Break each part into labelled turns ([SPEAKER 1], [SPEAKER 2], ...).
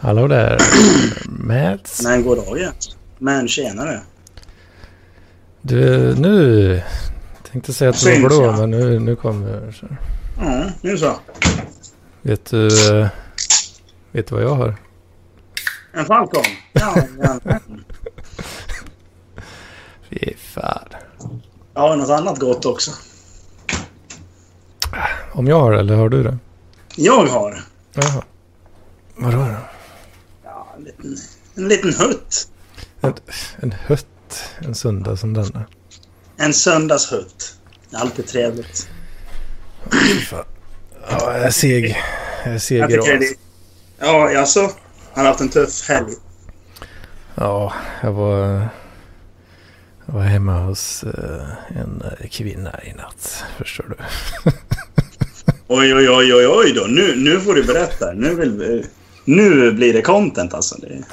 [SPEAKER 1] Hallå där, Mats.
[SPEAKER 2] Nej, god dag egentligen. Men tjenare.
[SPEAKER 1] Du, nu... Tänkte säga att du var
[SPEAKER 2] Syns
[SPEAKER 1] blå,
[SPEAKER 2] jag?
[SPEAKER 1] men nu, nu kommer så.
[SPEAKER 2] Ja, nu så.
[SPEAKER 1] Vet du... eh, Vet du vad jag har?
[SPEAKER 2] En Falcon. Ja, ja.
[SPEAKER 1] Fy fan.
[SPEAKER 2] Jag har något annat gott också.
[SPEAKER 1] Om jag har det, eller har du det?
[SPEAKER 2] Jag har
[SPEAKER 1] Jaha. Vadå då?
[SPEAKER 2] ja, en, liten, en liten hutt.
[SPEAKER 1] En, en hött en söndag som denna.
[SPEAKER 2] En söndagshutt. Alltid trevligt.
[SPEAKER 1] Fy fan. Ja, jag är seg. Jag är seg
[SPEAKER 2] Jag
[SPEAKER 1] i
[SPEAKER 2] tycker
[SPEAKER 1] rad.
[SPEAKER 2] det är... Ja, jaså? Har du haft en tuff helg?
[SPEAKER 1] Ja, jag var... Jag var hemma hos eh, en eh, kvinna i natt, förstår du.
[SPEAKER 2] Oj, oj, oj, oj, oj då. Nu, nu får du berätta. Nu, vill, vi- nu blir det content alltså. Det,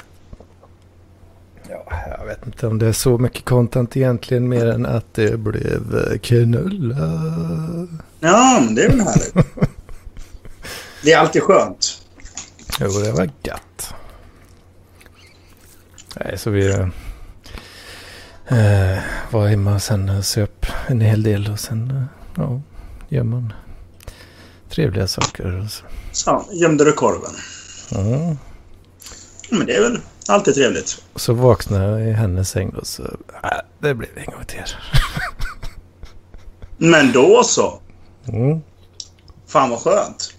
[SPEAKER 1] Ja, jag vet inte om det är så mycket content egentligen mer än att det blev eh, knulla.
[SPEAKER 2] ja, men det är väl härligt. Det är alltid skönt.
[SPEAKER 1] Jo, det var gött. Nej, så vi eh, var hemma och sen eh, söp en hel del och sen eh, ja, gör man trevliga saker. Och så.
[SPEAKER 2] Så, gömde du korven.
[SPEAKER 1] Mm.
[SPEAKER 2] Men det är väl alltid trevligt.
[SPEAKER 1] Och så vaknade jag i hennes säng och så äh, det blev en gång till.
[SPEAKER 2] Men då så.
[SPEAKER 1] Mm.
[SPEAKER 2] Fan vad skönt.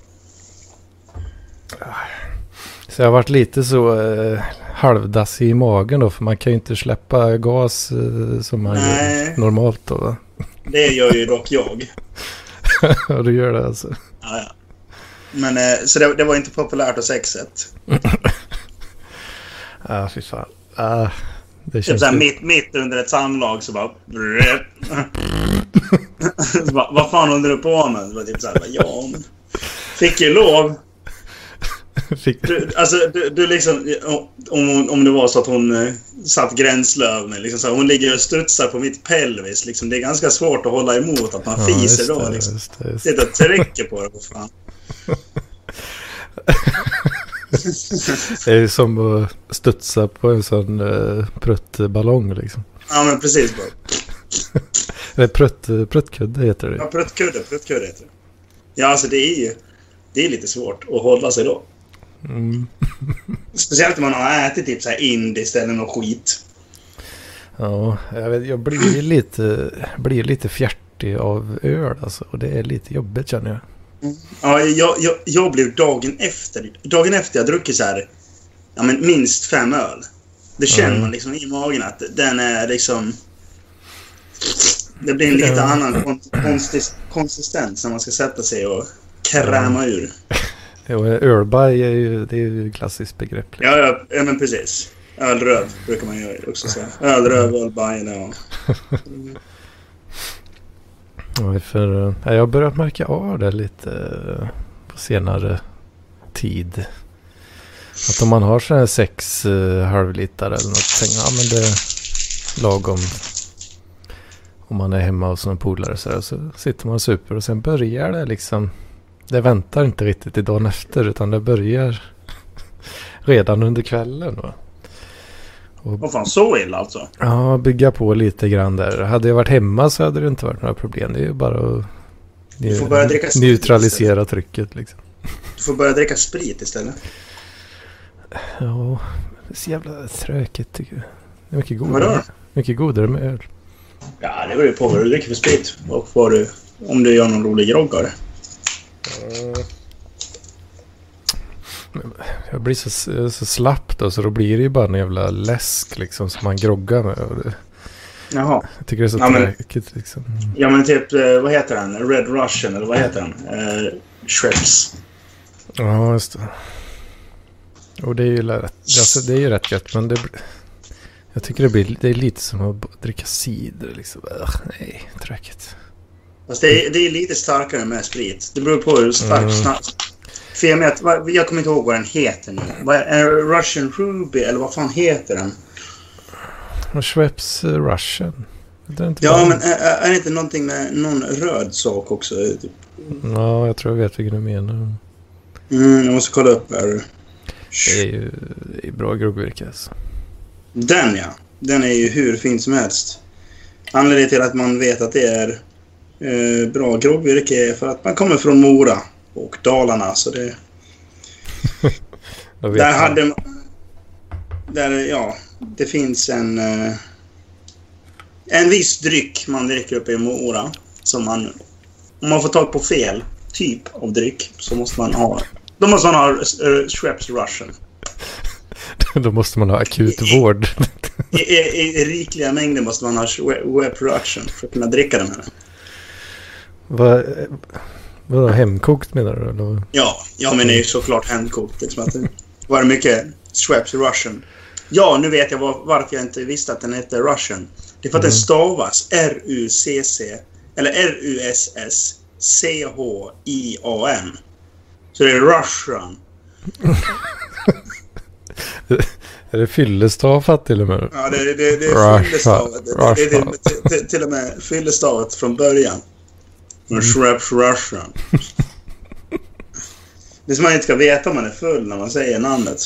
[SPEAKER 1] Så jag har varit lite så eh, halvdassig i magen då, för man kan ju inte släppa gas eh, som man
[SPEAKER 2] Nej.
[SPEAKER 1] gör normalt då. Va?
[SPEAKER 2] Det gör ju dock jag.
[SPEAKER 1] Ja, du gör det alltså.
[SPEAKER 2] Ja, ja. Men eh, så det, det var inte populärt och sexet. Typ
[SPEAKER 1] Ja, ah, fy fan. Ah, det
[SPEAKER 2] Typ
[SPEAKER 1] känns
[SPEAKER 2] såhär
[SPEAKER 1] ju-
[SPEAKER 2] mitt, mitt under ett samlag så bara... så bara vad fan håller du på med? Så bara, typ såhär, ja men... Fick ju lov.
[SPEAKER 1] Fick...
[SPEAKER 2] Du, alltså du, du liksom... Om, hon- om det var så att hon eh, satt gränslöv med liksom så här, Hon ligger och studsar på mitt pelvis liksom. Det är ganska svårt att hålla emot att man
[SPEAKER 1] Ja, just
[SPEAKER 2] fiser då
[SPEAKER 1] det,
[SPEAKER 2] liksom.
[SPEAKER 1] just det, just det.
[SPEAKER 2] Sitter och trycker på det, vad fan.
[SPEAKER 1] Det är ju som att studsa på en sån uh, pruttballong liksom.
[SPEAKER 2] Ja men precis bara.
[SPEAKER 1] Eller prutt, pruttkudde heter det
[SPEAKER 2] Ja, pruttkudde. Pruttkudde heter det. Ja, alltså det är ju... Det är lite svårt att hålla sig då.
[SPEAKER 1] mm.
[SPEAKER 2] Speciellt om man har ätit typ så här indiskt eller något skit.
[SPEAKER 1] Ja, jag, vet, jag blir lite, blir lite fjärtig av öl alltså. Och det är lite jobbigt känner jag.
[SPEAKER 2] Ja, jag, jag, jag blev dagen efter... Dagen efter jag druckit så här... Ja, men minst fem öl. Det känner
[SPEAKER 1] Mm.
[SPEAKER 2] man liksom i magen att den är liksom... Det blir en lite
[SPEAKER 1] Ja.
[SPEAKER 2] annan kon- konstis, konsistens när man ska sätta sig och kräma ur.
[SPEAKER 1] Och ölbaj är ju, det är ju ett klassiskt begrepp. liksom.
[SPEAKER 2] Ja, ja, ja men precis. Ölröd brukar man göra också säga. Ölröd, ölbajen och...
[SPEAKER 1] Ja, för, eh, jag har börjat märka av det lite eh, på senare tid. Att om man har sådana här sex eh, halvlitare eller någonting, ja men det är lagom. Om man är hemma hos någon polare så, här, så sitter man och super och sen börjar det liksom. Det väntar inte riktigt till dagen efter utan det börjar redan under kvällen. Va?
[SPEAKER 2] Vad fan, så illa alltså?
[SPEAKER 1] Ja, bygga på lite grann där. Hade jag varit hemma så hade det inte varit några problem. Det är ju bara att
[SPEAKER 2] Du får börja dricka sprit
[SPEAKER 1] neutralisera trycket liksom.
[SPEAKER 2] Du får börja dricka sprit istället.
[SPEAKER 1] Ja, det är så jävla tråkigt tycker jag. Det är mycket
[SPEAKER 2] Vadå?
[SPEAKER 1] godare, mycket godare med öl.
[SPEAKER 2] Ja, det beror ju på vad du dricker för sprit och vad du, om du gör någon rolig grogg av det.
[SPEAKER 1] Jag blir så, så slapp då, så då blir det ju bara en jävla läsk liksom som man groggar med. Och det,
[SPEAKER 2] Jaha.
[SPEAKER 1] jag tycker det är så
[SPEAKER 2] Ja, men-
[SPEAKER 1] tråkigt liksom.
[SPEAKER 2] Ja, men typ, eh, vad heter den? Red Russian, eller vad heter den? Eh, Shreps.
[SPEAKER 1] Ja, just det. Och det är ju rätt, alltså, det är ju rätt gött, men det, blir- jag tycker det, blir, det är lite som att b- dricka cider. Liksom. Ugh, nej, tråkigt.
[SPEAKER 2] Fast det är, det är lite starkare med sprit. Det beror på hur stark
[SPEAKER 1] Mm.
[SPEAKER 2] snaps... För jag, vet, vad- jag kommer inte ihåg vad den heter nu. Vad är, är det Russian Ruby, eller vad fan heter den?
[SPEAKER 1] Och Schweppes eh, Russian. Det är inte
[SPEAKER 2] Ja,
[SPEAKER 1] bra.
[SPEAKER 2] men är, är är det inte någonting med någon röd sak också? Typ?
[SPEAKER 1] Ja, jag tror jag vet vilken du menar.
[SPEAKER 2] Mm, jag måste kolla upp här.
[SPEAKER 1] Det är ju det är bra groggvirke alltså.
[SPEAKER 2] Den ja. Den är ju hur fin som helst. Anledningen till att man vet att det är eh, bra groggvirke är för att man kommer från Mora och Dalarna. Så det,
[SPEAKER 1] Jag vet
[SPEAKER 2] där
[SPEAKER 1] inte.
[SPEAKER 2] hade man... Där, ja, det finns en... eh, En viss dryck man dricker uppe i Mora som man... Om man får tag på fel typ av dryck så måste man ha... Då måste man ha eh, Schweppes Russian.
[SPEAKER 1] Då måste man ha akutvård.
[SPEAKER 2] I, i, i, I rikliga mängder måste man ha Schweppes Russian för att kunna dricka den här.
[SPEAKER 1] Vad, vadå, hemkokt menar du? Eller?
[SPEAKER 2] Ja, ja men det är ju såklart hemkokt. Liksom att det var det mycket Schweppes Russian. Ja, nu vet jag var, varför jag inte visste att den hette Russian. Det är för att den
[SPEAKER 1] Mm.
[SPEAKER 2] stavas R-U-C-C, eller R-U-S-S-C-H-I-A-N. Så det är Russian.
[SPEAKER 1] Är det fyllestavat till och med?
[SPEAKER 2] Ja, det, det, det är
[SPEAKER 1] Russian.
[SPEAKER 2] fyllestavet. Det, det, det,
[SPEAKER 1] Russian.
[SPEAKER 2] det, det, till och med fyllestavet från början.
[SPEAKER 1] Mm.
[SPEAKER 2] Men Schweppes Russian. Det är som man inte ska veta om man är full när man säger namnet.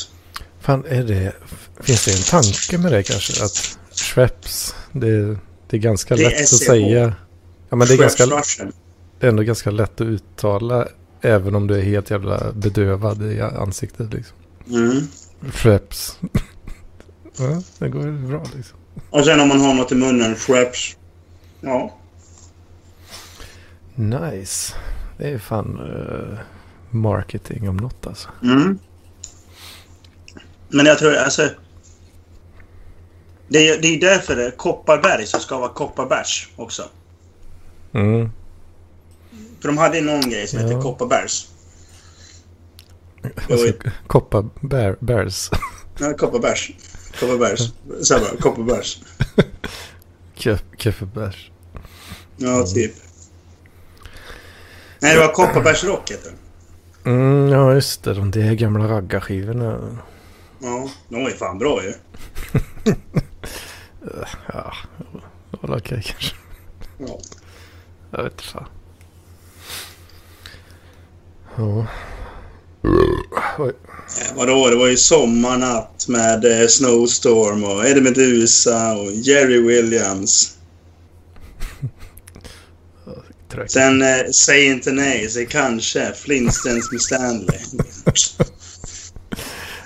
[SPEAKER 1] Fan, är det... Finns det en tanke med det kanske? Att Schweppes, det, det är ganska
[SPEAKER 2] Det är
[SPEAKER 1] lätt att
[SPEAKER 2] SCH.
[SPEAKER 1] säga. Ja, men det är,
[SPEAKER 2] Schweppes
[SPEAKER 1] ganska,
[SPEAKER 2] Russian.
[SPEAKER 1] det är ändå ganska lätt att uttala. Även om du är helt jävla bedövad i ansiktet liksom.
[SPEAKER 2] Mm.
[SPEAKER 1] Schweppes. Ja, det går ju bra liksom.
[SPEAKER 2] Och sen om man har något i munnen, Schweppes. Ja.
[SPEAKER 1] Nice. Det är fan eh, marketing om något alltså.
[SPEAKER 2] Mm. Men jag tror, alltså... Det är, det är därför det är Kopparberg som ska vara Kopparbergs också.
[SPEAKER 1] Mm.
[SPEAKER 2] För de hade ju någon grej som hette
[SPEAKER 1] Ja.
[SPEAKER 2] Kopparbergs. Det var
[SPEAKER 1] Alltså,
[SPEAKER 2] ju-
[SPEAKER 1] Koppar bear, bears.
[SPEAKER 2] Nej, Kopparbergs. Kopparbergs. Så här bara, Kopparbergs.
[SPEAKER 1] Kaffebärs.
[SPEAKER 2] Ja, typ. Nej, det var Kopparbergs Rock heter den.
[SPEAKER 1] Mm, ja, just det. De där gamla raggarskivorna.
[SPEAKER 2] Ja, de var ju fan bra ju.
[SPEAKER 1] Ja, det var väl okej kanske.
[SPEAKER 2] Ja.
[SPEAKER 1] Jag vet inte fan. Ja. Oj.
[SPEAKER 2] Eh, Vadå, det var ju Sommarnatt med eh, Snowstorm och Eddie Meduza och Jerry Williams.
[SPEAKER 1] Tråkigt.
[SPEAKER 2] Sen eh, Säg inte nej, säg kanske, Flintstones med Stanley.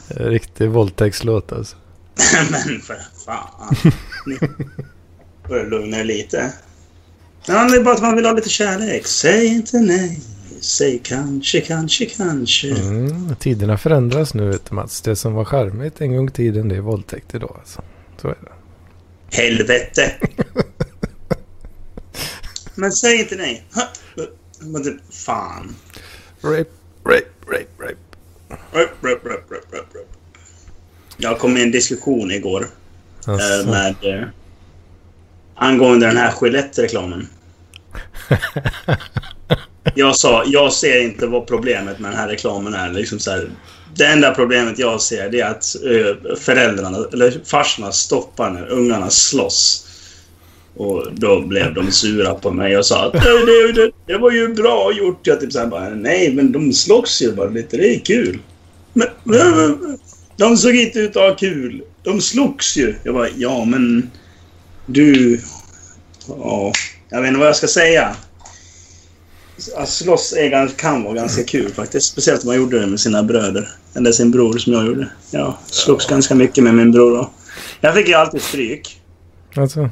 [SPEAKER 1] Riktig våldtäktslåt alltså.
[SPEAKER 2] Men för fan. Ni börjar lugna er lite. Det handlar ju bara om att man vill ha lite kärlek. Säg inte nej, säg kanske, kanske, kanske.
[SPEAKER 1] Mm, tiderna förändras nu vet du Mats. Det som var charmigt en gång i tiden det är våldtäkt idag alltså. Så är det.
[SPEAKER 2] Helvete! Men säg inte nej. Ha, eh, Men det, fan.
[SPEAKER 1] Rape, rape, rape, rape.
[SPEAKER 2] Rup, rup, rup, rup, rup, rup. Jag kom i en diskussion igår eh,
[SPEAKER 1] Alltså.
[SPEAKER 2] med eh, angående den här Gillette-reklamen. jag sa, jag ser inte vad problemet med den här reklamen är. Liksom så här, det enda problemet jag ser det är att eh, föräldrarna, eller farsorna stoppar när ungarna slåss. Och då blev de sura på mig och sa att det, det, det, det var ju bra gjort. Jag typ så här bara, nej men de slåss ju bara lite, det är kul. Men, men, men de såg inte ut att ha kul. De slogs ju. Jag bara, ja men du... Ja, jag vet inte vad jag ska säga. Att slåss är, gans- kan vara ganska kul faktiskt. Speciellt om man gjorde det med sina bröder. Eller sin bror som jag gjorde. Jag slogs ganska mycket med min bror då. Jag fick ju alltid stryk.
[SPEAKER 1] Alltså.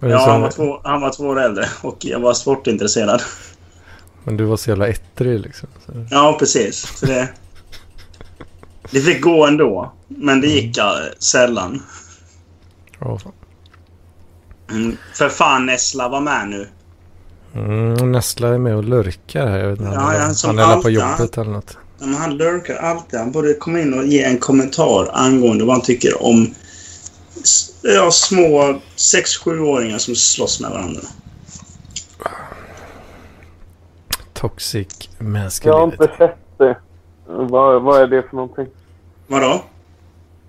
[SPEAKER 1] Men,
[SPEAKER 2] Ja,
[SPEAKER 1] så-
[SPEAKER 2] han var, två, han var två år äldre och jag var sportintresserad.
[SPEAKER 1] men du var så jävla ettrig liksom. Så.
[SPEAKER 2] Ja, precis. Så det, det fick gå ändå, men det gick eh, sällan.
[SPEAKER 1] Ja, fan.
[SPEAKER 2] Mm, för fan, Nessla var med nu.
[SPEAKER 1] Mm, Nessla är med och lurkar här. Jag vet inte,
[SPEAKER 2] Ja,
[SPEAKER 1] han,
[SPEAKER 2] han
[SPEAKER 1] är-
[SPEAKER 2] som
[SPEAKER 1] han är alla på
[SPEAKER 2] alltid-
[SPEAKER 1] jobbet eller något.
[SPEAKER 2] Ja, men han lurkar alltid. Han borde komma in och ge en kommentar angående vad han tycker om s- ja, små 6-7-åringar som slåss med varandra.
[SPEAKER 1] Toxic
[SPEAKER 3] Jag har
[SPEAKER 1] masculinity.
[SPEAKER 3] inte sett det. Vad, vad är det för någonting?
[SPEAKER 2] Vadå?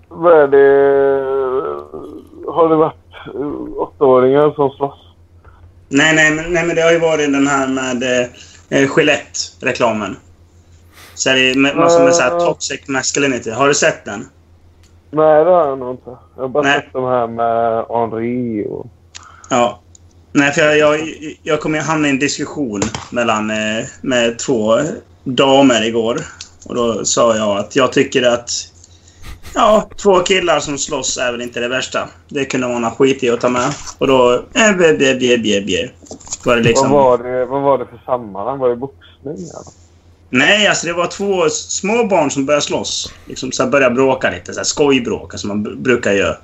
[SPEAKER 3] Vad är det? Har det varit eh, åttaåringar som slåss?
[SPEAKER 2] Nej, nej, men, nej, men det har ju varit den här med eh, eh, Gillette-reklamen. Så är det med, massor med så här toxic masculinity. Har du sett den?
[SPEAKER 3] Nej, det har jag nog inte. Jag har bara
[SPEAKER 2] Nej.
[SPEAKER 3] sett de här med Henri och...
[SPEAKER 2] Ja. Nej, för jag, jag, jag kommer ju hamna i en diskussion mellan, eh, med två damer igår. Och då sa jag att jag tycker att ja, två killar som slåss är väl inte det värsta. Det kunde vara någon skit i att ta med. Och då... Eh, bje, bje, bje, bje, bje. Var det liksom...
[SPEAKER 3] Vad, var det, vad var det för sammanhang? Var det boxning? Eller?
[SPEAKER 2] Nej, alltså det var två små barn som började slåss. Liksom så här började bråka lite. Så här skojbråka som man b- brukar göra.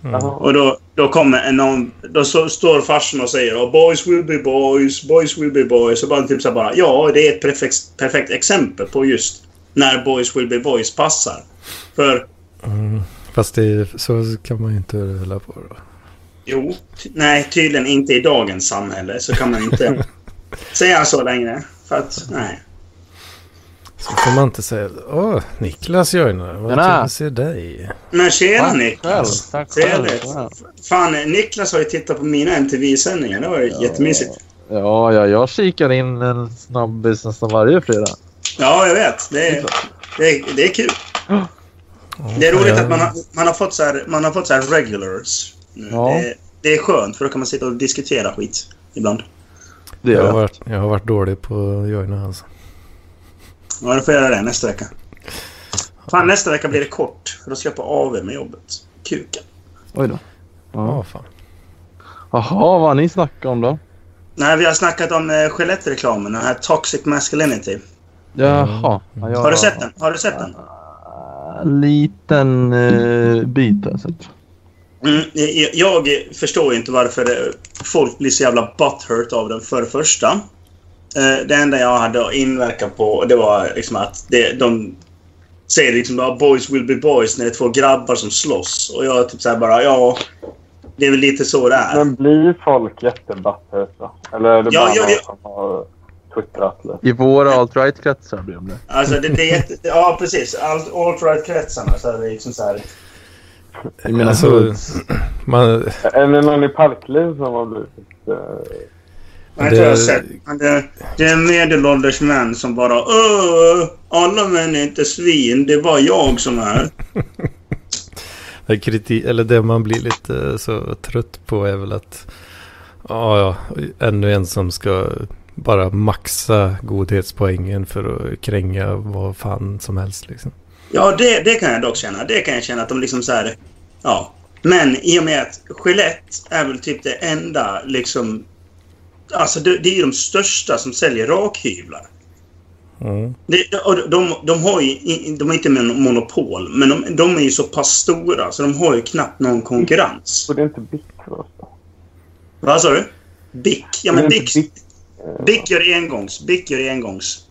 [SPEAKER 4] Mm.
[SPEAKER 3] Jaha.
[SPEAKER 2] Och då, då kommer en någon, då så, står farsan och säger oh, “Boys will be boys, boys will be boys” och bara typ så här bara “Ja, det är ett perfekt, perfekt exempel på just när boys will be boys passar”. För
[SPEAKER 1] Mm. Fast det, så kan man ju inte hålla på då.
[SPEAKER 2] jo, ty- nej, tydligen inte i dagens samhälle så kan man inte säga så längre. För att, nej.
[SPEAKER 1] Så får man inte säga Åh, Niklas joinar. Vad
[SPEAKER 4] Tjena.
[SPEAKER 1] trevligt att se dig.
[SPEAKER 2] Men tjena
[SPEAKER 4] själv.
[SPEAKER 2] Niklas!
[SPEAKER 4] Tack själv.
[SPEAKER 2] Trevligt.
[SPEAKER 4] Ja.
[SPEAKER 2] Fan, Niklas har ju tittat på mina MTV-sändningar. Det var ju jättemysigt.
[SPEAKER 4] Ja, ja, jag kikar in en snabbis nästan varje fredag.
[SPEAKER 2] Ja, jag vet. Det är, det är, det är kul. Det är roligt att man har, man har fått, så här, man har fått så här regulars. nu.
[SPEAKER 4] Ja.
[SPEAKER 2] Det, är- det är skönt, för då kan man sitta och diskutera skit ibland.
[SPEAKER 1] Jag
[SPEAKER 4] Det gör
[SPEAKER 1] har
[SPEAKER 4] jag.
[SPEAKER 1] varit, jag har varit dålig på att joina alltså.
[SPEAKER 2] Ja, då får jag göra det nästa vecka. Fan, nästa vecka blir det kort. För då ska jag på AV med jobbet. Kuka.
[SPEAKER 4] Oj då.
[SPEAKER 1] Ja,
[SPEAKER 4] Ja.
[SPEAKER 1] fan.
[SPEAKER 4] Jaha, vad har ni snackat om då?
[SPEAKER 2] Nej, vi har snackat om eh, Skellefteå-reklamen, den här Toxic Masculinity.
[SPEAKER 4] Jaha. Ja, jag-
[SPEAKER 2] Har du sett den? Har du sett den?
[SPEAKER 4] Liten eh, bit har jag sett.
[SPEAKER 2] Mm, jag- jag förstår ju inte varför det- folk blir så jävla butthurt av den för det första. Eh, Det enda jag hade att inverka på det var liksom att det, de säger liksom att boys will be boys när det är två grabbar som slåss. Och jag typ så här bara, ja, det är väl lite så det är.
[SPEAKER 3] Men blir folk jättebutthurta? Eller är det
[SPEAKER 2] Ja,
[SPEAKER 3] bara
[SPEAKER 2] ja,
[SPEAKER 3] någon
[SPEAKER 2] ja.
[SPEAKER 3] som har twittrat lite?
[SPEAKER 4] I våra alt-right-kretsar blir de det.
[SPEAKER 2] Alltså, det, det är jätte, ja, precis. Allt alt-right-kretsarna. Så är det liksom så här.
[SPEAKER 4] Jag menar
[SPEAKER 1] Alltså,
[SPEAKER 4] hoods.
[SPEAKER 1] Man,
[SPEAKER 3] Är det någon i Parkliv som har blivit... eh,
[SPEAKER 2] Jag tror jag har
[SPEAKER 1] Det-
[SPEAKER 2] sett. Men Det, det är en medelålders män som bara Åh, alla män är inte svin, det är bara jag som är.
[SPEAKER 1] det kriti- eller det man blir lite eh, så trött på är väl att ja, ja, ännu en som ska bara maxa godhetspoängen för att kränga vad fan som helst liksom.
[SPEAKER 2] Ja, det, det kan jag dock känna. Det kan jag känna att de liksom så här, Ja. Men i och med att Gillette är väl typ det enda liksom... Alltså det, det är ju de största som säljer rakhyvlar.
[SPEAKER 1] Mm.
[SPEAKER 2] Det, och de, de, de har ju i- de är inte mon- monopol, men de, de är ju så pass stora så de har ju knappt någon konkurrens.
[SPEAKER 3] Borde inte Bic vara så?
[SPEAKER 2] Vad sa du? Bic? Ja, men
[SPEAKER 3] Borde inte
[SPEAKER 2] Bic,
[SPEAKER 3] Bic-
[SPEAKER 2] Bic gör engångs. Bic gör engångs.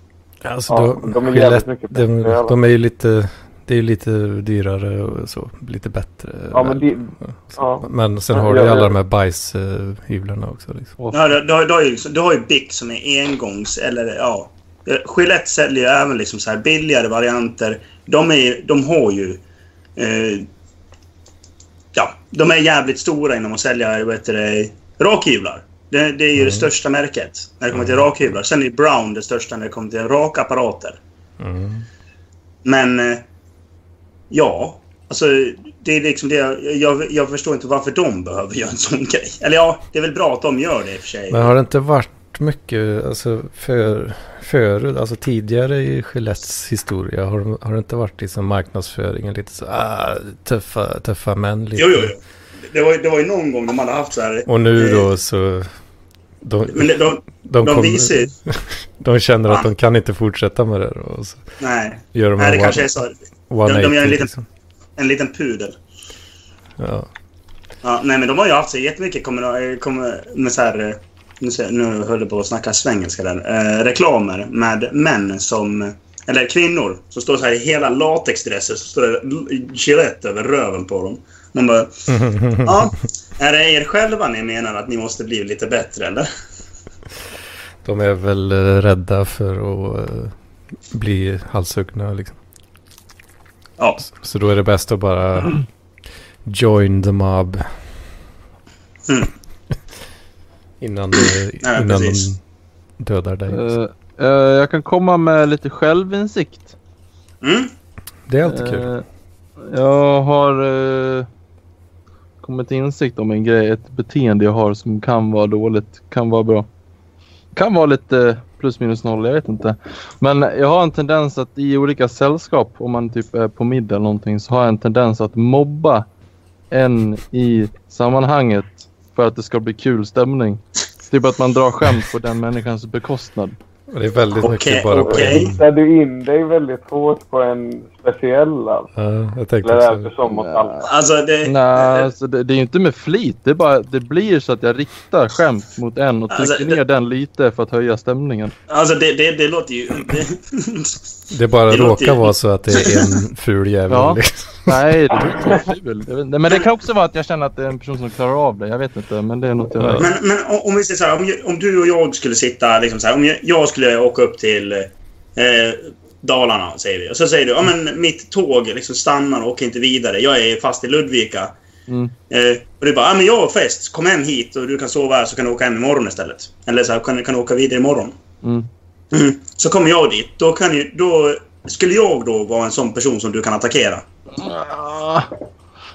[SPEAKER 1] Alltså,
[SPEAKER 3] Ja,
[SPEAKER 1] då,
[SPEAKER 3] de är
[SPEAKER 1] Gillette-
[SPEAKER 3] jävligt mycket bättre i alla
[SPEAKER 1] de,
[SPEAKER 3] fall.
[SPEAKER 1] de är ju lite, det är ju lite dyrare och så, lite bättre.
[SPEAKER 3] Ja, men det...
[SPEAKER 1] Så-
[SPEAKER 3] Ja.
[SPEAKER 1] men sen
[SPEAKER 3] Ja,
[SPEAKER 1] har du ju
[SPEAKER 3] ja,
[SPEAKER 1] alla
[SPEAKER 3] ja.
[SPEAKER 1] de här bajshyvlarna också. Liksom.
[SPEAKER 2] Ja, du, du, har- du, har ju, liksom- du har ju Bic som är engångs eller ja. Gillette säljer ju även liksom så här billigare varianter. De, är, ju- de har ju... Eh, ja, de är jävligt stora inom att sälja vad heter det, rakhyvlar. Det, det är ju det största märket när det kommer till rakhyvlar. Sen är ju Brown det största när det kommer till rakapparater.
[SPEAKER 1] Mm.
[SPEAKER 2] Men eh, ja, alltså det är liksom det jag, jag, jag förstår inte varför de behöver göra en sån grej. Eller ja, det är väl bra att de gör det i och för sig.
[SPEAKER 1] Men har det inte varit mycket, alltså för, förut, alltså tidigare i Gillettes historia, har, de- har det inte varit liksom marknadsföringen lite så, ah, tuffa, tuffa män lite?
[SPEAKER 2] Jo, jo, jo. Det var, det var ju någon gång de hade haft så här... eh,
[SPEAKER 1] Och nu då så, de,
[SPEAKER 2] Men de, de,
[SPEAKER 1] de,
[SPEAKER 2] de
[SPEAKER 1] kommer-
[SPEAKER 2] visar ju...
[SPEAKER 1] de känner att de kan inte fortsätta med det då, och så
[SPEAKER 2] Nej.
[SPEAKER 1] gör de
[SPEAKER 2] Nej, det
[SPEAKER 1] en
[SPEAKER 2] kanske
[SPEAKER 1] one,
[SPEAKER 2] är så.
[SPEAKER 1] 180
[SPEAKER 2] de gör en liten-
[SPEAKER 1] liksom.
[SPEAKER 2] En liten pudel.
[SPEAKER 1] Ja.
[SPEAKER 2] Ja, nej, men de har ju haft så jättemycket kommer, kommer med så här... eh, Nu, ser- nu höll jag på att snacka svengelska där. Eh, reklamer med män som... Eller kvinnor som står så här i hela latexdresser. Så står det l- Gillette över röven på dem. Man bara... ja, är det er själva ni menar att ni måste bli lite bättre, eller?
[SPEAKER 1] De är väl eh, rädda för att eh, bli halshuggna liksom.
[SPEAKER 2] Ja.
[SPEAKER 1] Så då är det bäst att bara join the mob.
[SPEAKER 2] Mm.
[SPEAKER 1] Innan, det,
[SPEAKER 2] Nej,
[SPEAKER 1] innan de
[SPEAKER 2] precis.
[SPEAKER 1] dödar dig. liksom.
[SPEAKER 4] Eh, Eh, jag kan komma med lite självinsikt.
[SPEAKER 2] Mm?
[SPEAKER 1] Det är alltid kul.
[SPEAKER 4] Eh, jag har eh, kommit till insikt om en grej, ett beteende jag har som kan vara dåligt, kan vara bra. Kan vara lite plus minus noll, jag vet inte. Men jag har en tendens att i olika sällskap, om man typ är på middag eller någonting, så har jag en tendens att mobba en i sammanhanget för att det ska bli kul stämning. Typ att man drar skämt på den människans bekostnad.
[SPEAKER 1] Och det är väldigt
[SPEAKER 2] eh, Okej,
[SPEAKER 1] mycket bara
[SPEAKER 2] okej.
[SPEAKER 1] på en.
[SPEAKER 3] Där du in dig väldigt hårt på en speciell alltså.
[SPEAKER 1] Ja, jag tänkte
[SPEAKER 3] Eller är det
[SPEAKER 1] också.
[SPEAKER 3] sommarsalta?
[SPEAKER 2] Alltså, det...
[SPEAKER 4] Nej, alltså det, det är ju inte med flit. Det, är bara, det blir så att jag riktar skämt mot en och trycker
[SPEAKER 2] Alltså, det-
[SPEAKER 4] ner den lite för att höja stämningen.
[SPEAKER 2] Alltså, det, det, det låter ju... Det,
[SPEAKER 1] Det bara
[SPEAKER 2] Det låter
[SPEAKER 1] råkar
[SPEAKER 2] ju-
[SPEAKER 1] vara så att det är en ful jävel.
[SPEAKER 4] Ja.
[SPEAKER 1] liksom.
[SPEAKER 4] Nej, det är inte kul. Jag vet inte. Men det kan också vara att jag känner att det är en person som klarar av det. Jag vet inte, men det är något jag har.
[SPEAKER 2] men, men om- om vi säger så här, om, ju- om du och jag skulle sitta liksom så här, om jag, jag skulle åka upp till eh, Dalarna, säger vi. Och så säger du, ja men mitt tåg liksom stannar och åker inte vidare. Jag är fast i Ludvika.
[SPEAKER 4] Mm.
[SPEAKER 2] Eh, och du bara, ja men jag har fest. Kom hem hit och du kan sova här så kan du åka hem imorgon istället. Eller så här, kan, kan du åka vidare imorgon.
[SPEAKER 4] Mm.
[SPEAKER 2] Mm. Så kommer jag dit. Då kan ju, då skulle jag då vara en sån person som du kan attackera.
[SPEAKER 4] Ah.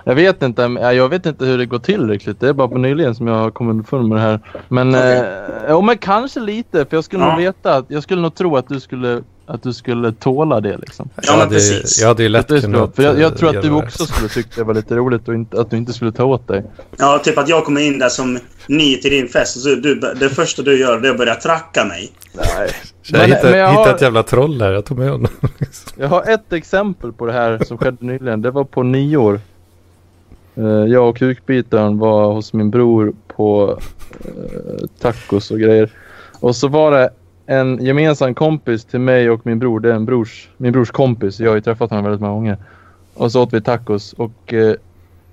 [SPEAKER 4] Jag vet inte, men- jag vet inte hur det går till riktigt. Det är bara på nyligen som jag har kommit underfund med det här. Men,
[SPEAKER 2] Okej.
[SPEAKER 4] eh, jo, men kanske lite, för jag skulle
[SPEAKER 2] Ja.
[SPEAKER 4] nog veta. att- Jag skulle nog tro att du skulle, att du skulle tåla det liksom.
[SPEAKER 2] Ja,
[SPEAKER 1] jag,
[SPEAKER 2] men
[SPEAKER 1] hade, ju-
[SPEAKER 2] precis.
[SPEAKER 1] jag hade ju lätt
[SPEAKER 4] Det är
[SPEAKER 1] kunnat...
[SPEAKER 4] svårt, för jag, jag
[SPEAKER 1] eh,
[SPEAKER 4] tror att du
[SPEAKER 1] göra det.
[SPEAKER 4] också skulle tycka det var lite roligt och inte, att du inte skulle ta åt dig.
[SPEAKER 2] Ja, typ att jag kommer in där som ny till din fest och så du, det första du gör det är att börja tracka mig.
[SPEAKER 1] Jag
[SPEAKER 4] Men-
[SPEAKER 1] hittade,
[SPEAKER 4] men jag har-
[SPEAKER 1] hittade ett jävla troll här. Jag tog med honom. liksom.
[SPEAKER 4] Jag har ett exempel på det här som skedde nyligen. Det var på nyår. Eh, Jag och kukbitaren var hos min bror på eh, tacos och grejer. Och så var det en gemensam kompis till mig och min bror. Det är en brors, min brors kompis. Jag har ju träffat honom väldigt många gånger. Och så åt vi tacos och eh,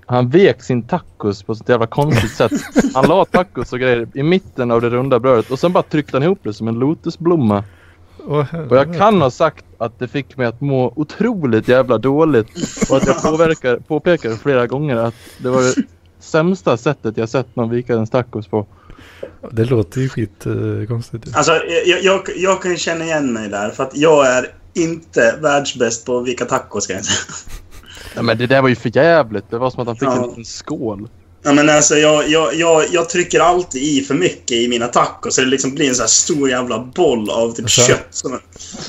[SPEAKER 4] han vek sin tacos på ett sånt jävla konstigt sätt. Han la tacos och grejer i mitten av det runda brödet och sen bara tryckte han ihop det som en lotusblomma.
[SPEAKER 1] Åh,
[SPEAKER 4] Och
[SPEAKER 1] helvete.
[SPEAKER 4] jag kan ha sagt att det fick mig att må otroligt jävla dåligt och att jag påverkar, påpekade flera gånger att det var det sämsta sättet jag sett någon vika en tacos på.
[SPEAKER 1] Det låter ju skitkonstigt. Uh,
[SPEAKER 2] Alltså, jag, jag, jag kan ju känna igen mig där för att jag är inte världsbäst på vilka tacos kan jag säga.
[SPEAKER 4] Ja, men det där var ju för jävligt. Det var som att han fick
[SPEAKER 2] Ja.
[SPEAKER 4] en liten skål.
[SPEAKER 2] Ja, men alltså, jag, jag, jag, jag trycker alltid i för mycket i mina tacos så det liksom blir en så här stor jävla boll av typ
[SPEAKER 1] Alltså.
[SPEAKER 2] kött. Som,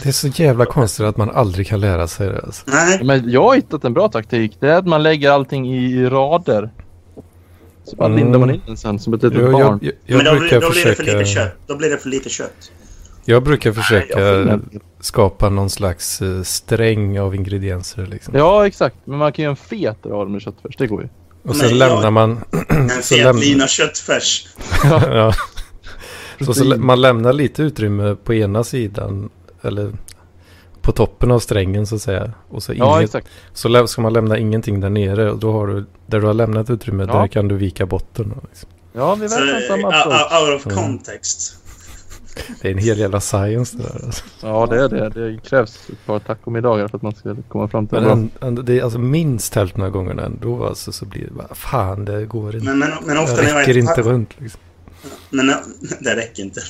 [SPEAKER 1] det är så jävla konstigt att man aldrig kan lära sig det. Alltså.
[SPEAKER 2] nej.
[SPEAKER 4] Ja, Men jag har hittat en bra taktik. Det är att man lägger allting i rader. Så bara
[SPEAKER 1] Mm.
[SPEAKER 4] lindar man in den sen som ett litet
[SPEAKER 1] Jag,
[SPEAKER 4] barn.
[SPEAKER 1] jag, jag,
[SPEAKER 2] Men då, blir-
[SPEAKER 1] brukar
[SPEAKER 2] då blir det för lite
[SPEAKER 1] försöka,
[SPEAKER 2] kött. Då blir det för lite kött.
[SPEAKER 1] jag brukar
[SPEAKER 4] Jag
[SPEAKER 1] försöka
[SPEAKER 4] får-
[SPEAKER 1] skapa någon slags eh, sträng av ingredienser. Liksom.
[SPEAKER 4] Ja, exakt. Men man kan göra en fet rad med köttfärs. Det går ju.
[SPEAKER 1] Och
[SPEAKER 2] men
[SPEAKER 1] sen
[SPEAKER 2] jag-
[SPEAKER 1] lämnar man...
[SPEAKER 2] En
[SPEAKER 1] Så
[SPEAKER 2] fet
[SPEAKER 1] lämn-
[SPEAKER 2] lina köttfärs.
[SPEAKER 1] ja. så, så lä-
[SPEAKER 4] Protein.
[SPEAKER 1] man lämnar lite utrymme på ena sidan. Eller på toppen av strängen så att säga. Och så,
[SPEAKER 4] Ja,
[SPEAKER 1] inget,
[SPEAKER 4] exakt.
[SPEAKER 1] så lä- ska man lämna ingenting där nere. Och då har du, där du har lämnat utrymme,
[SPEAKER 4] Ja.
[SPEAKER 1] där kan du vika botten. Liksom.
[SPEAKER 4] Ja, vi
[SPEAKER 2] Så,
[SPEAKER 4] verkar ha samma
[SPEAKER 2] uh,
[SPEAKER 4] approach.
[SPEAKER 2] uh, out of context.
[SPEAKER 1] Det är en hel jävla science det där. Alltså.
[SPEAKER 4] Ja, det är det. Det krävs ett par tacomiddagar för att man ska komma fram till
[SPEAKER 1] Men
[SPEAKER 4] det. bra.
[SPEAKER 1] en, en, det är alltså minst hälften av gångerna ändå alltså, så blir det bara, fan det går inte.
[SPEAKER 2] Men, men, men ofta
[SPEAKER 1] Det
[SPEAKER 2] när jag
[SPEAKER 1] räcker
[SPEAKER 2] äter
[SPEAKER 1] inte
[SPEAKER 2] tacos...
[SPEAKER 1] runt liksom.
[SPEAKER 2] Men, eh, det räcker inte.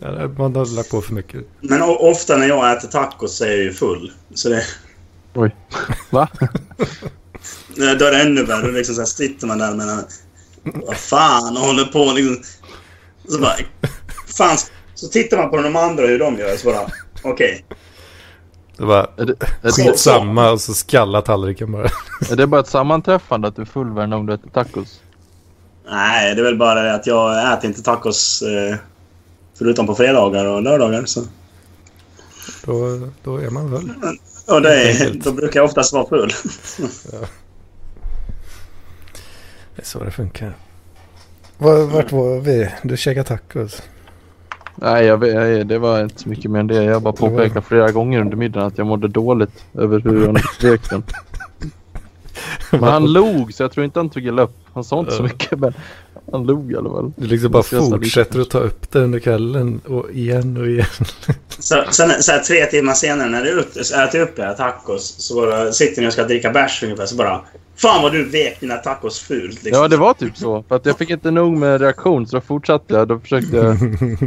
[SPEAKER 1] Ja, det- Man har lagt på för mycket.
[SPEAKER 2] Men o- ofta när jag äter tacos så är jag ju full. Så det,
[SPEAKER 4] Oj. Va?
[SPEAKER 2] då är det ännu värre. Liksom så här sitter man där med en... Vad fan och håller på liksom. Så bara... Fan. Så tittar man på de andra hur de gör så bara... Okej.
[SPEAKER 1] Det var
[SPEAKER 4] Är det, är, det,
[SPEAKER 1] skitsamma och så skalla tallriken bara.
[SPEAKER 4] är det bara ett sammanträffande att du är full varje gång du äter tacos?
[SPEAKER 2] Nej, det är väl bara det att jag äter inte tacos. Eh, förutom på fredagar och lördagar. Så.
[SPEAKER 1] Då, då är man väl.
[SPEAKER 2] Mm. Och det
[SPEAKER 1] Helt
[SPEAKER 2] är,
[SPEAKER 1] enkelt.
[SPEAKER 2] då brukar jag oftast vara full.
[SPEAKER 1] Det är så det funkar. Var, vart var vi? Du käkade tacos.
[SPEAKER 4] Nej, jag, vet- jag, det var inte så mycket mer än det. Jag bara påpekade flera gånger under middagen att jag mådde dåligt över hur han skrek den. Men han log, så jag tror inte han tog illa upp. Han sa inte så mycket, men han log i alla fall.
[SPEAKER 1] Du liksom bara
[SPEAKER 4] Jag ska stanna
[SPEAKER 1] fortsätter att ta upp det under kvällen och igen och igen.
[SPEAKER 2] Så, sen så här, tre timmar senare när det är ute, så äter jag upp era tacos. Så bara sitter ni och ska dricka bärs ungefär. Så bara... Fan vad du vek dina tacos fult. Liksom.
[SPEAKER 4] Ja, det var typ så. För att jag fick inte nog med reaktion så då fortsatte jag. Då försökte jag,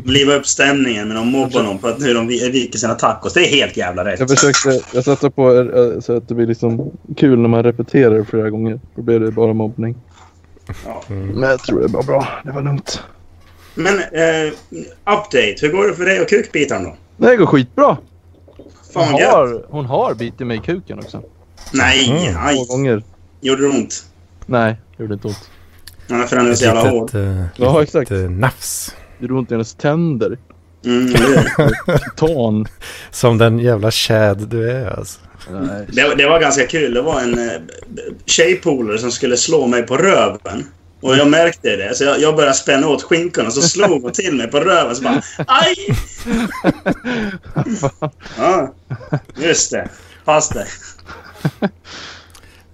[SPEAKER 2] Liva upp stämningen men de mobbar någon på att hur de vi- viker sina tacos. Det är helt jävla rätt.
[SPEAKER 4] jag försökte, jag satte på eh, så att det blir liksom kul när man repeterar flera gånger. Då blev det bara mobbning.
[SPEAKER 2] Ja.
[SPEAKER 4] Mm. Men jag tror det var bra. Det var lugnt.
[SPEAKER 2] Men eh, update. Hur går det för dig och kukbitaren då?
[SPEAKER 4] Nej, det går skitbra. Hon
[SPEAKER 2] Fan vad gött.
[SPEAKER 4] har, hon har bitit mig i kuken också.
[SPEAKER 2] Nej,
[SPEAKER 1] Mm.
[SPEAKER 2] aj.
[SPEAKER 4] Två gånger.
[SPEAKER 2] Gjorde det ont?
[SPEAKER 4] Nej, det gjorde inte ont.
[SPEAKER 2] Nej, för den är
[SPEAKER 1] Ett
[SPEAKER 2] så jävla hård.
[SPEAKER 1] litet, eh,
[SPEAKER 4] Ja,
[SPEAKER 1] litet,
[SPEAKER 4] exakt.
[SPEAKER 1] eh, nafs.
[SPEAKER 4] Det gjorde ont i hennes tänder.
[SPEAKER 2] Mm, det-
[SPEAKER 4] Titan.
[SPEAKER 1] Som den jävla chad du är alltså.
[SPEAKER 4] Nej.
[SPEAKER 2] Det, det var ganska kul. Det var en eh, tjejpolare som skulle slå mig på röven. Och jag märkte det, så jag, jag började spänna åt skinkorna så slog hon till mig på röven. Så bara aj! ja, just det. Fast det.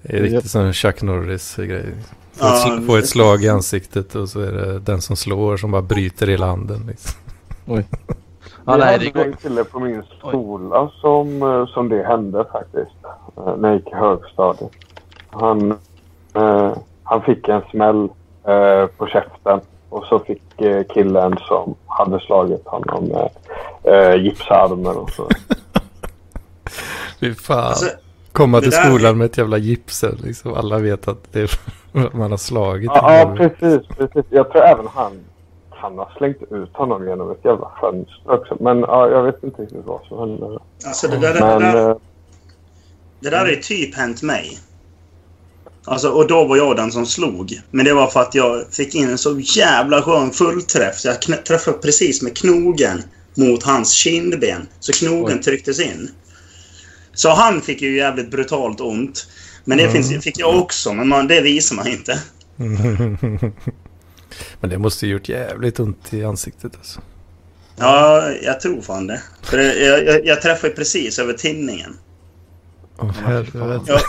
[SPEAKER 1] Det är riktigt som Chuck Norris grej. Få,
[SPEAKER 2] Ja,
[SPEAKER 1] ett, sl-
[SPEAKER 2] men-
[SPEAKER 1] få ett slag i ansiktet och så är det den som slår som bara bryter hela handen. Liksom.
[SPEAKER 4] Ja,
[SPEAKER 3] jag
[SPEAKER 4] nej,
[SPEAKER 3] hade
[SPEAKER 4] det går...
[SPEAKER 3] en kille på min skola som, eh, som det hände faktiskt. Eh, När jag gick i högstadiet. Han, eh, han fick en smäll eh, på käften. Och så fick eh, killen som hade slagit honom eh, eh, gipsa armen och så.
[SPEAKER 1] Fy fan.
[SPEAKER 2] Alltså,
[SPEAKER 1] Komma
[SPEAKER 2] det
[SPEAKER 1] till
[SPEAKER 2] där-
[SPEAKER 1] skolan med ett jävla gipsen. Liksom. Alla vet att det är man har slagit.
[SPEAKER 3] Ja, ja precis, precis. Jag tror även han kan ha slängt ut honom genom ett jävla fönster också. Men ja, jag vet inte riktigt vad som hände.
[SPEAKER 2] alltså det, där, det,
[SPEAKER 3] Men
[SPEAKER 2] där,
[SPEAKER 3] eh,
[SPEAKER 2] det där är typ hänt mig. Alltså, och då var jag den som slog. Men det var för att jag fick in en så jävla skön fullträff så jag knä- träffade precis med knogen mot hans kindben. Så knogen trycktes in. Så han fick ju jävligt brutalt ont. Men det finns, fick jag också, men man, det visar man inte.
[SPEAKER 1] Men det måste ju gjort jävligt ont i ansiktet alltså.
[SPEAKER 2] Ja, jag tror fan det. För det, jag, jag, jag träffade precis över tinningen.
[SPEAKER 1] Åh helvete.
[SPEAKER 2] Jag,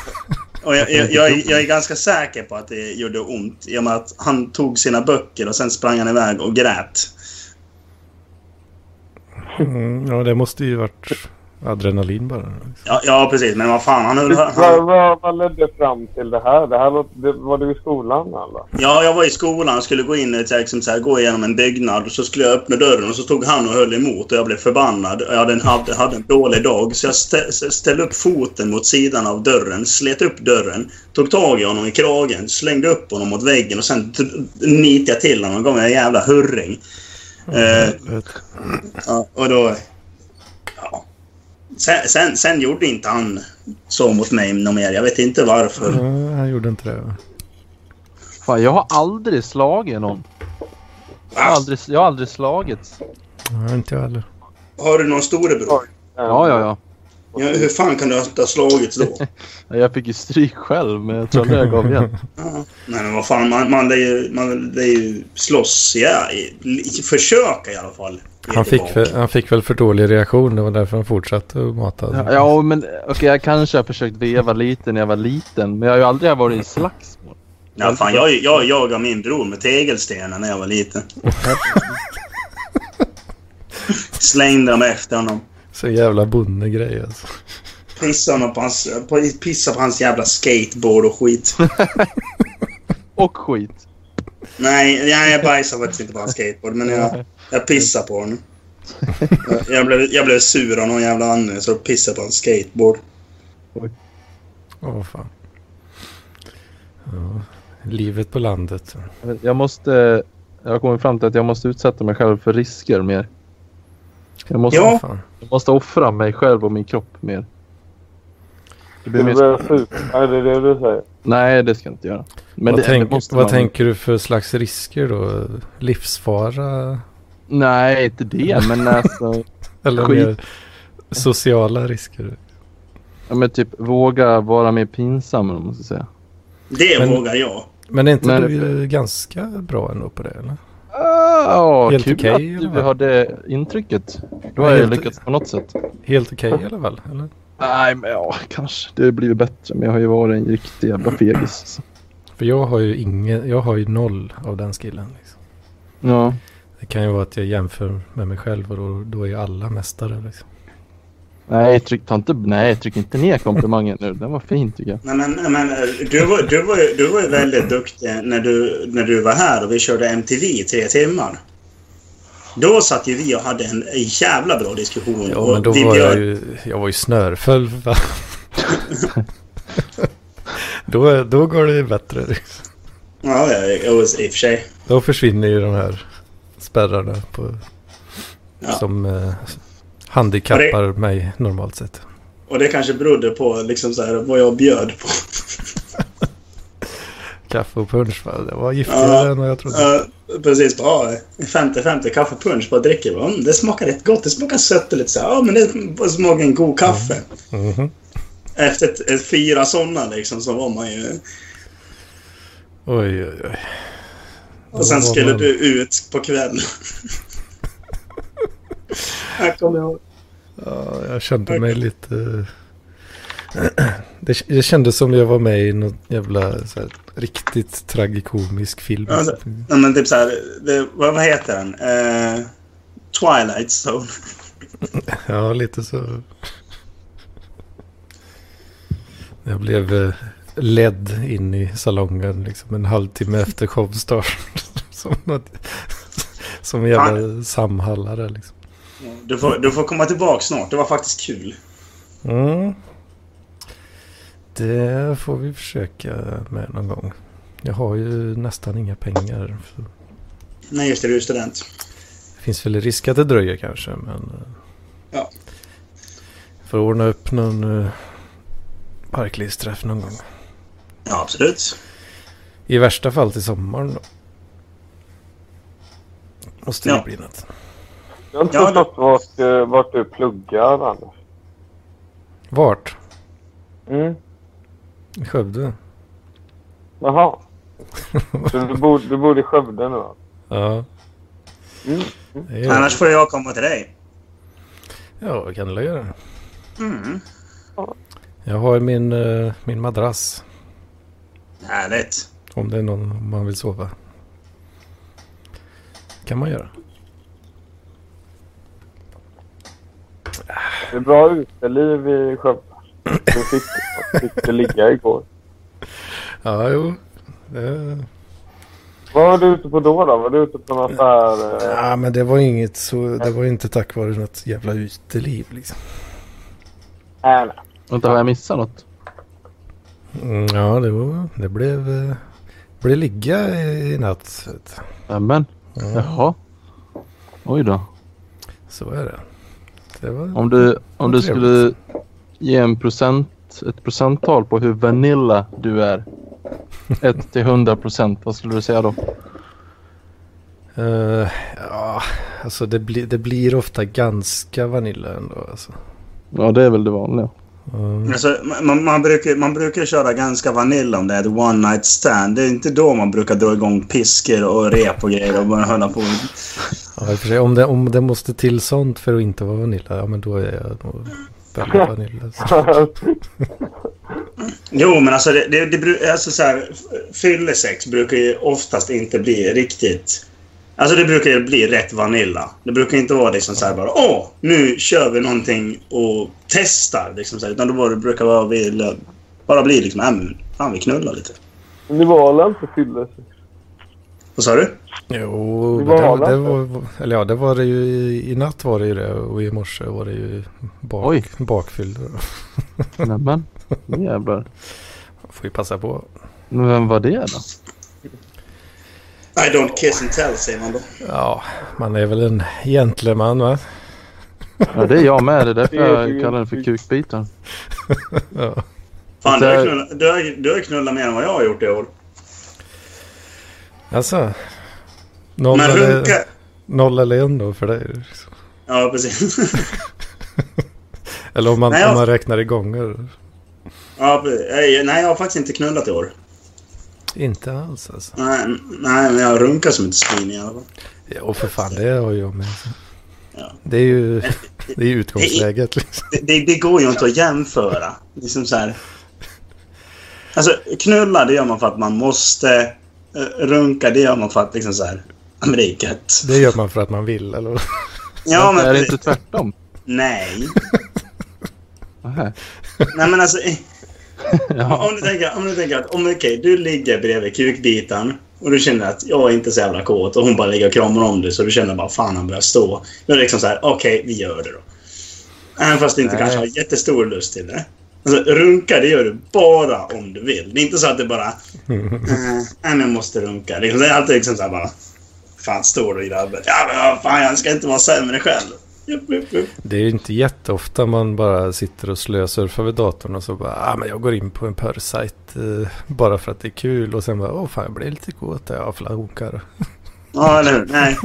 [SPEAKER 2] och jag, jag, jag, är- jag är ganska säker på att det gjorde ont i och med att han tog sina böcker och sen sprang han iväg och grät.
[SPEAKER 1] Mm, ja, det måste ju varit adrenalin bara. liksom.
[SPEAKER 2] Ja, ja precis. Men vad fan, han höll...
[SPEAKER 3] vad,
[SPEAKER 2] Han,
[SPEAKER 3] vad, vad ledde fram till det här? Det här låter- det, var du i skolan eller?
[SPEAKER 2] ja, jag var i skolan och skulle gå in och liksom, så här, gå igenom en byggnad och så skulle jag öppna dörren och så stod han och höll emot och jag blev förbannad. Jag hade en, hade, hade en dålig dag så jag stä, stä- ställde upp foten mot sidan av dörren, slet upp dörren, tog tag i honom i kragen, slängde upp honom mot väggen och sen dr- nitade jag till honom och gav mig en jävla hurring. Eh, Ja, och då... Ja. Sen, sen, sen gjorde inte han så mot mig något mer. Jag vet inte varför.
[SPEAKER 1] Nej, han gjorde inte det. va?
[SPEAKER 4] Fan, jag har aldrig slagit någon. Jag har aldrig, jag har aldrig slagit.
[SPEAKER 1] Nej, inte jag heller.
[SPEAKER 2] Har du någon storebror?
[SPEAKER 4] Ja, ja, ja.
[SPEAKER 2] Ja, hur fan kan du inte ha slagits då?
[SPEAKER 4] Ja, Jag fick ju stryk själv, men jag tror aldrig jag gav igen.
[SPEAKER 2] Ja. Nej, men vad fan. Man, man, det är ju, man, det är ju slåss. Ja, i- i- försöka i alla fall. Ge
[SPEAKER 1] Han fick,
[SPEAKER 2] tillbaka.
[SPEAKER 1] väl, han fick väl för dålig reaktion. Det var därför han fortsatte att mata.
[SPEAKER 4] Ja, men okej, jag kanske har försökt veva lite när jag var liten, men jag har ju aldrig varit i slagsmål.
[SPEAKER 2] Ja, fan, jag, jag jagade min bror med tegelstenar när jag var liten. Slängde dem efter honom.
[SPEAKER 1] Så jävla bondegrej alltså.
[SPEAKER 2] Pissade, honom på hans, på, pissade på hans jävla skateboard och skit.
[SPEAKER 4] Och skit.
[SPEAKER 2] Nej, jag, jag bajsar faktiskt inte på hans skateboard, men jag, jag pissar på honom. Jag- Jag blev, jag blev sur av någon jävla anledning, så jag pissade på hans skateboard.
[SPEAKER 1] Åh fan. Ja, livet på landet.
[SPEAKER 4] Jag måste... Jag har kommit fram till att jag måste utsätta mig själv för risker mer. Jag måste,
[SPEAKER 2] Ja.
[SPEAKER 1] Fan.
[SPEAKER 4] jag måste offra mig själv och min kropp mer. Det blir
[SPEAKER 3] Du
[SPEAKER 4] mer...
[SPEAKER 3] börjar supa? Är det det du säger?
[SPEAKER 4] Nej, det ska jag inte göra. Men
[SPEAKER 1] vad
[SPEAKER 4] det,
[SPEAKER 1] tänk,
[SPEAKER 4] det måste
[SPEAKER 1] vad
[SPEAKER 4] man-
[SPEAKER 1] tänker du för slags risker då? Livsfara?
[SPEAKER 4] Nej, inte det, men alltså...
[SPEAKER 1] Eller
[SPEAKER 4] Skit.
[SPEAKER 1] mer sociala risker?
[SPEAKER 4] Ja, men typ våga vara mer pinsam, om man ska säga.
[SPEAKER 2] Det
[SPEAKER 1] Men-
[SPEAKER 2] vågar jag.
[SPEAKER 1] Men är inte
[SPEAKER 4] Nej,
[SPEAKER 1] du eh, ganska bra ändå på det? Eller?
[SPEAKER 4] Ah,
[SPEAKER 1] Helt
[SPEAKER 4] kul
[SPEAKER 1] okej,
[SPEAKER 4] att
[SPEAKER 1] eller?
[SPEAKER 4] du har det intrycket. Då har
[SPEAKER 1] Nej,
[SPEAKER 4] jag
[SPEAKER 1] helt-
[SPEAKER 4] lyckats på något sätt.
[SPEAKER 1] Helt okej i alla fall? Eller?
[SPEAKER 4] Nej, men ja, kanske. Det blir bättre. Men jag har ju varit en riktig jävla fegis. alltså.
[SPEAKER 1] För jag har ju ingen, jag har ju noll av den skillen. Liksom.
[SPEAKER 4] Ja.
[SPEAKER 1] Det kan ju vara att jag jämför med mig själv och då, då är ju alla mästare. Liksom.
[SPEAKER 4] Nej, tryck, ta inte, nej, tryck inte ner komplimangen nu. Den var fin tycker jag.
[SPEAKER 2] Nej, men, nej, men eh, du, var, du, var, ju- du var ju väldigt duktig när du, när du var här och vi körde MTV i tre timmar. Då satt ju vi och hade en jävla bra diskussion.
[SPEAKER 1] Ja,
[SPEAKER 2] och
[SPEAKER 1] men då
[SPEAKER 2] vi
[SPEAKER 1] var jag
[SPEAKER 2] bjöd-
[SPEAKER 1] ju, jag var ju snörfull. va? då, då går det ju bättre. liksom.
[SPEAKER 2] Ja, ja, ja, i och för sig.
[SPEAKER 1] Då försvinner ju de här spärrarna på,
[SPEAKER 2] Ja.
[SPEAKER 1] som eh, handikappar mig normalt sett.
[SPEAKER 2] Och det kanske berodde på liksom så här, vad jag bjöd på.
[SPEAKER 1] Kaffe och punsch, va? det var giftigare
[SPEAKER 2] Ja.
[SPEAKER 1] än vad jag trodde.
[SPEAKER 2] Ja, precis. Ja, 50-50 kaffepunch på dricker. Mm, det smakar rätt gott. Det smakar sött och lite så här. Ja, men det smakar en god kaffe.
[SPEAKER 1] Mhm.
[SPEAKER 2] Efter ett, ett, fyra sådana liksom så var man ju...
[SPEAKER 1] Oj, oj, oj. Då
[SPEAKER 2] Och sen
[SPEAKER 1] var
[SPEAKER 2] skulle
[SPEAKER 1] man-
[SPEAKER 2] du ut på kvällen. jag kommer ihåg.
[SPEAKER 1] Ja, jag kände mig lite... Det, det kändes som jag var med i någon jävla så här, riktigt tragikomisk film.
[SPEAKER 2] Ja, så- Ja, men typ så här, det, vad, vad heter den? Eh, Twilight Zone.
[SPEAKER 1] Ja, lite så. Jag blev eh, ledd in i salongen liksom en halvtimme efter showstart. Som, något, som en jävla samhallare liksom.
[SPEAKER 2] Du får, du får komma tillbaka snart. Det var faktiskt kul.
[SPEAKER 1] Mm. Det får vi försöka med någon gång. Jag har ju nästan inga pengar. Så
[SPEAKER 2] Nej, just det. Du är student.
[SPEAKER 1] det finns väl risk att det dröjer kanske, men... eh,
[SPEAKER 2] Ja.
[SPEAKER 1] Får ordna upp någon eh, parklivsträff någon gång.
[SPEAKER 2] Ja, absolut.
[SPEAKER 1] I värsta fall till sommaren då. Måste det
[SPEAKER 2] Ja.
[SPEAKER 1] bli något.
[SPEAKER 3] Jag har inte
[SPEAKER 2] Ja,
[SPEAKER 3] förstått vart, eh, vart du pluggar annars.
[SPEAKER 1] Vart?
[SPEAKER 3] Mm.
[SPEAKER 1] I Skövde?
[SPEAKER 3] Jaha. Så du bor, du bor i Skövde nu? va?
[SPEAKER 1] Ja.
[SPEAKER 3] Mm.
[SPEAKER 1] Det gör jag.
[SPEAKER 2] Annars får jag komma till dig.
[SPEAKER 1] Ja, det kan du göra.
[SPEAKER 2] Mm.
[SPEAKER 1] Jag har min, eh, min madrass.
[SPEAKER 2] Härligt.
[SPEAKER 1] Om det är någon om man vill sova. kan man göra.
[SPEAKER 3] Det är bra uteliv i Skövde. Du fick, fick det ligga igår.
[SPEAKER 1] Ja, jo. Det...
[SPEAKER 3] Vad var du ute på då? då? Var du ute på något där... eh,
[SPEAKER 1] Ja, men det var inget så... Det var inte tack vare något jävla uteliv liksom.
[SPEAKER 3] Nej, nej.
[SPEAKER 4] Vänta, har jag missat något?
[SPEAKER 1] Mm, ja, det, var, det blev... eh, blev ligga i i natt.
[SPEAKER 4] Nämen. Jaha. Oj då.
[SPEAKER 1] Så är det. Det var...
[SPEAKER 4] Om du, om du
[SPEAKER 1] Vad
[SPEAKER 4] skulle ge en procent, ett procenttal på hur vanilla du är. 1 till 100 procent. Vad skulle du säga då?
[SPEAKER 1] Eh, ja, alltså det, bli, det blir ofta ganska vanilla ändå. Alltså.
[SPEAKER 4] Ja, det är väl det vanliga.
[SPEAKER 1] Mm.
[SPEAKER 2] Alltså, man, man, brukar, man brukar köra ganska vanilla om det är ett one night stand. Det är inte då man brukar dra igång piskor och rep och grejer och börja hålla på.
[SPEAKER 1] Ja, i och för sig, om, det, om det måste till sånt för att inte vara vanilla, ja men då är jag nog väldigt vanilla. alltså. Så.
[SPEAKER 3] eh,
[SPEAKER 2] Jo, men alltså, det, det, det, bru- alltså så här, f- fyllesex brukar ju oftast inte bli riktigt... Alltså det brukar ju bli rätt vanilla. Det brukar inte vara liksom så här bara åh, nu kör vi någonting och testar. Liksom så här, utan då bara- det brukar vara vill, bara bli liksom, äh, men fan vi knullar lite.
[SPEAKER 3] Ni var väl inte fylles?
[SPEAKER 2] Vad sa du?
[SPEAKER 1] Jo,
[SPEAKER 3] Det
[SPEAKER 1] men
[SPEAKER 3] var
[SPEAKER 1] det, det
[SPEAKER 3] vanligt.
[SPEAKER 1] var, eller ja, det var det ju i, i natt var det ju det och i morse var det ju
[SPEAKER 4] Oj.
[SPEAKER 1] bak, bakfylld.
[SPEAKER 4] Nämen. Nu Jävlar.
[SPEAKER 1] Får ju passa på.
[SPEAKER 4] Men vem var det då?
[SPEAKER 2] I don't kiss and tell säger man då.
[SPEAKER 1] Ja, man är väl en gentleman va?
[SPEAKER 4] Ja, det är jag med. Det är därför
[SPEAKER 3] Det är ju-
[SPEAKER 4] jag kallar den för kukbiten.
[SPEAKER 1] Ja.
[SPEAKER 2] Fan, du
[SPEAKER 4] Där-
[SPEAKER 2] har, knullat, du, har, du har knullat mer än vad jag har gjort i år.
[SPEAKER 1] Alltså, noll,
[SPEAKER 2] Men
[SPEAKER 1] eller,
[SPEAKER 2] runka...
[SPEAKER 1] noll eller en då för dig. liksom.
[SPEAKER 2] Ja, precis.
[SPEAKER 1] Eller om man,
[SPEAKER 2] Nej, jag-
[SPEAKER 1] om man räknar i gånger.
[SPEAKER 2] ja, precis. Nej, nej, jag har faktiskt inte knullat i år.
[SPEAKER 1] Inte alls alltså.
[SPEAKER 2] Nej, nej men jag runkar som ett svin i alla fall.
[SPEAKER 1] Ja, och för fan, det har jag med.
[SPEAKER 2] Ja.
[SPEAKER 1] Det är ju det är ju utgångsläget liksom.
[SPEAKER 2] Det, det, det går ju inte att jämföra. Liksom så här. Alltså, knulla det gör man för att man måste. Eh, Runka det gör man för att liksom så här. ja, men Det är gött.
[SPEAKER 1] Det gör man för att man vill eller?
[SPEAKER 2] Ja,
[SPEAKER 4] är
[SPEAKER 2] men
[SPEAKER 4] det inte tvärtom?
[SPEAKER 2] Nej.
[SPEAKER 4] Nähä.
[SPEAKER 2] Nej men alltså,
[SPEAKER 4] Ja.
[SPEAKER 2] om du tänker, om du tänker att om, okej, du ligger bredvid kukbitaren och du känner att jag är inte så jävla kåt och hon bara ligger och kramar om dig så du känner bara fan han börjar stå. Då är det liksom så här, okej vi gör det då. Även fast du inte
[SPEAKER 4] Nej.
[SPEAKER 2] kanske har jättestor lust till det. Alltså, runka det gör du bara om du vill. Det är inte så att det bara, eh, nej men jag måste runka. Det är alltid liksom så här bara, fan står du grabben? Ja men vad fan jag ska inte vara sämre själv. Jupp, jupp, jupp.
[SPEAKER 1] Det är ju inte jätteofta man bara sitter och slösurfar vid datorn och så bara, ah, men jag går in på en porrsajt eh, bara för att det är kul och sen bara, åh fan jag blir lite kåt, ja flankar.
[SPEAKER 2] Ja eller hur? Nej.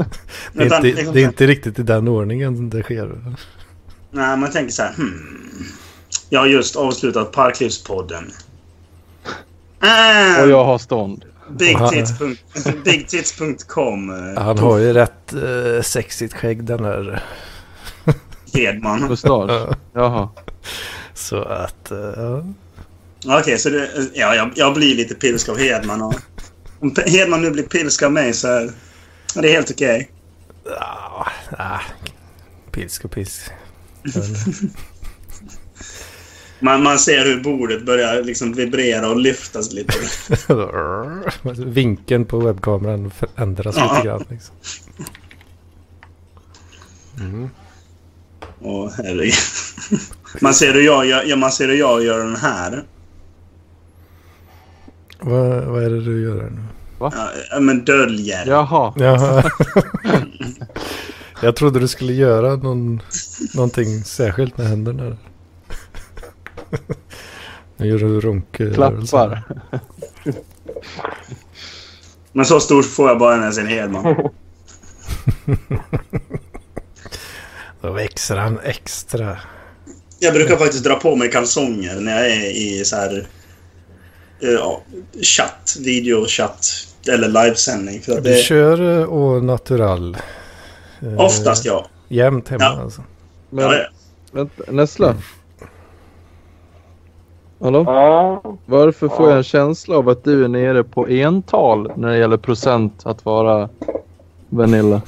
[SPEAKER 1] Det är,
[SPEAKER 2] Utan
[SPEAKER 1] inte,
[SPEAKER 2] liksom
[SPEAKER 1] det är
[SPEAKER 2] så här-
[SPEAKER 1] inte riktigt i den ordningen det sker.
[SPEAKER 2] Nej, man tänker så här. Hmm. Jag har just avslutat Parklivspodden. Ah,
[SPEAKER 4] Och jag har stånd.
[SPEAKER 2] bigtits.- Bigtits.com. eh,
[SPEAKER 1] Han har ju rätt eh, sexigt skägg den här.
[SPEAKER 2] Hedman.
[SPEAKER 4] Mustasch. Jaha.
[SPEAKER 1] Så att, eh, ja.
[SPEAKER 2] Okej, så det, ja, jag, jag blir lite pilsk av Hedman. Och, om P- Hedman nu blir pilsk av mig så är ja, det är helt okej.
[SPEAKER 1] Ah, ah, pisk och pisk. Jag vet inte.
[SPEAKER 2] Man, man ser hur bordet börjar liksom vibrera och lyftas lite.
[SPEAKER 1] Vinkeln på webbkameran förändras
[SPEAKER 2] Ja.
[SPEAKER 1] lite grann. Liksom.
[SPEAKER 2] Åh, herregud. Man ser hur jag, gör- ja, man ser hur jag gör den här.
[SPEAKER 1] Vad, vad är det du gör här nu?
[SPEAKER 2] Ja, ja, men döljer.
[SPEAKER 4] Jaha.
[SPEAKER 1] Jaha. Jag trodde du skulle göra någon, någonting särskilt med händerna. Nu gör du runkrörelser.
[SPEAKER 4] Klappar.
[SPEAKER 2] Men så stor får jag bara när jag ser en Hedman.
[SPEAKER 1] Då växer han extra.
[SPEAKER 2] Jag brukar faktiskt dra på mig kalsonger när jag är i så här... eh, Ja, chatt, videochatt eller livesändning. För att
[SPEAKER 1] Du
[SPEAKER 2] det,
[SPEAKER 1] kör eh, och natural. Eh,
[SPEAKER 2] oftast ja.
[SPEAKER 1] Jämt hemma
[SPEAKER 2] Ja.
[SPEAKER 1] alltså.
[SPEAKER 4] Men,
[SPEAKER 2] ja. ja.
[SPEAKER 4] vänta, Nessla. Hallå?
[SPEAKER 3] Ja,
[SPEAKER 4] Varför får jag en känsla av att du är nere på ental när det gäller procent att vara Vanilla?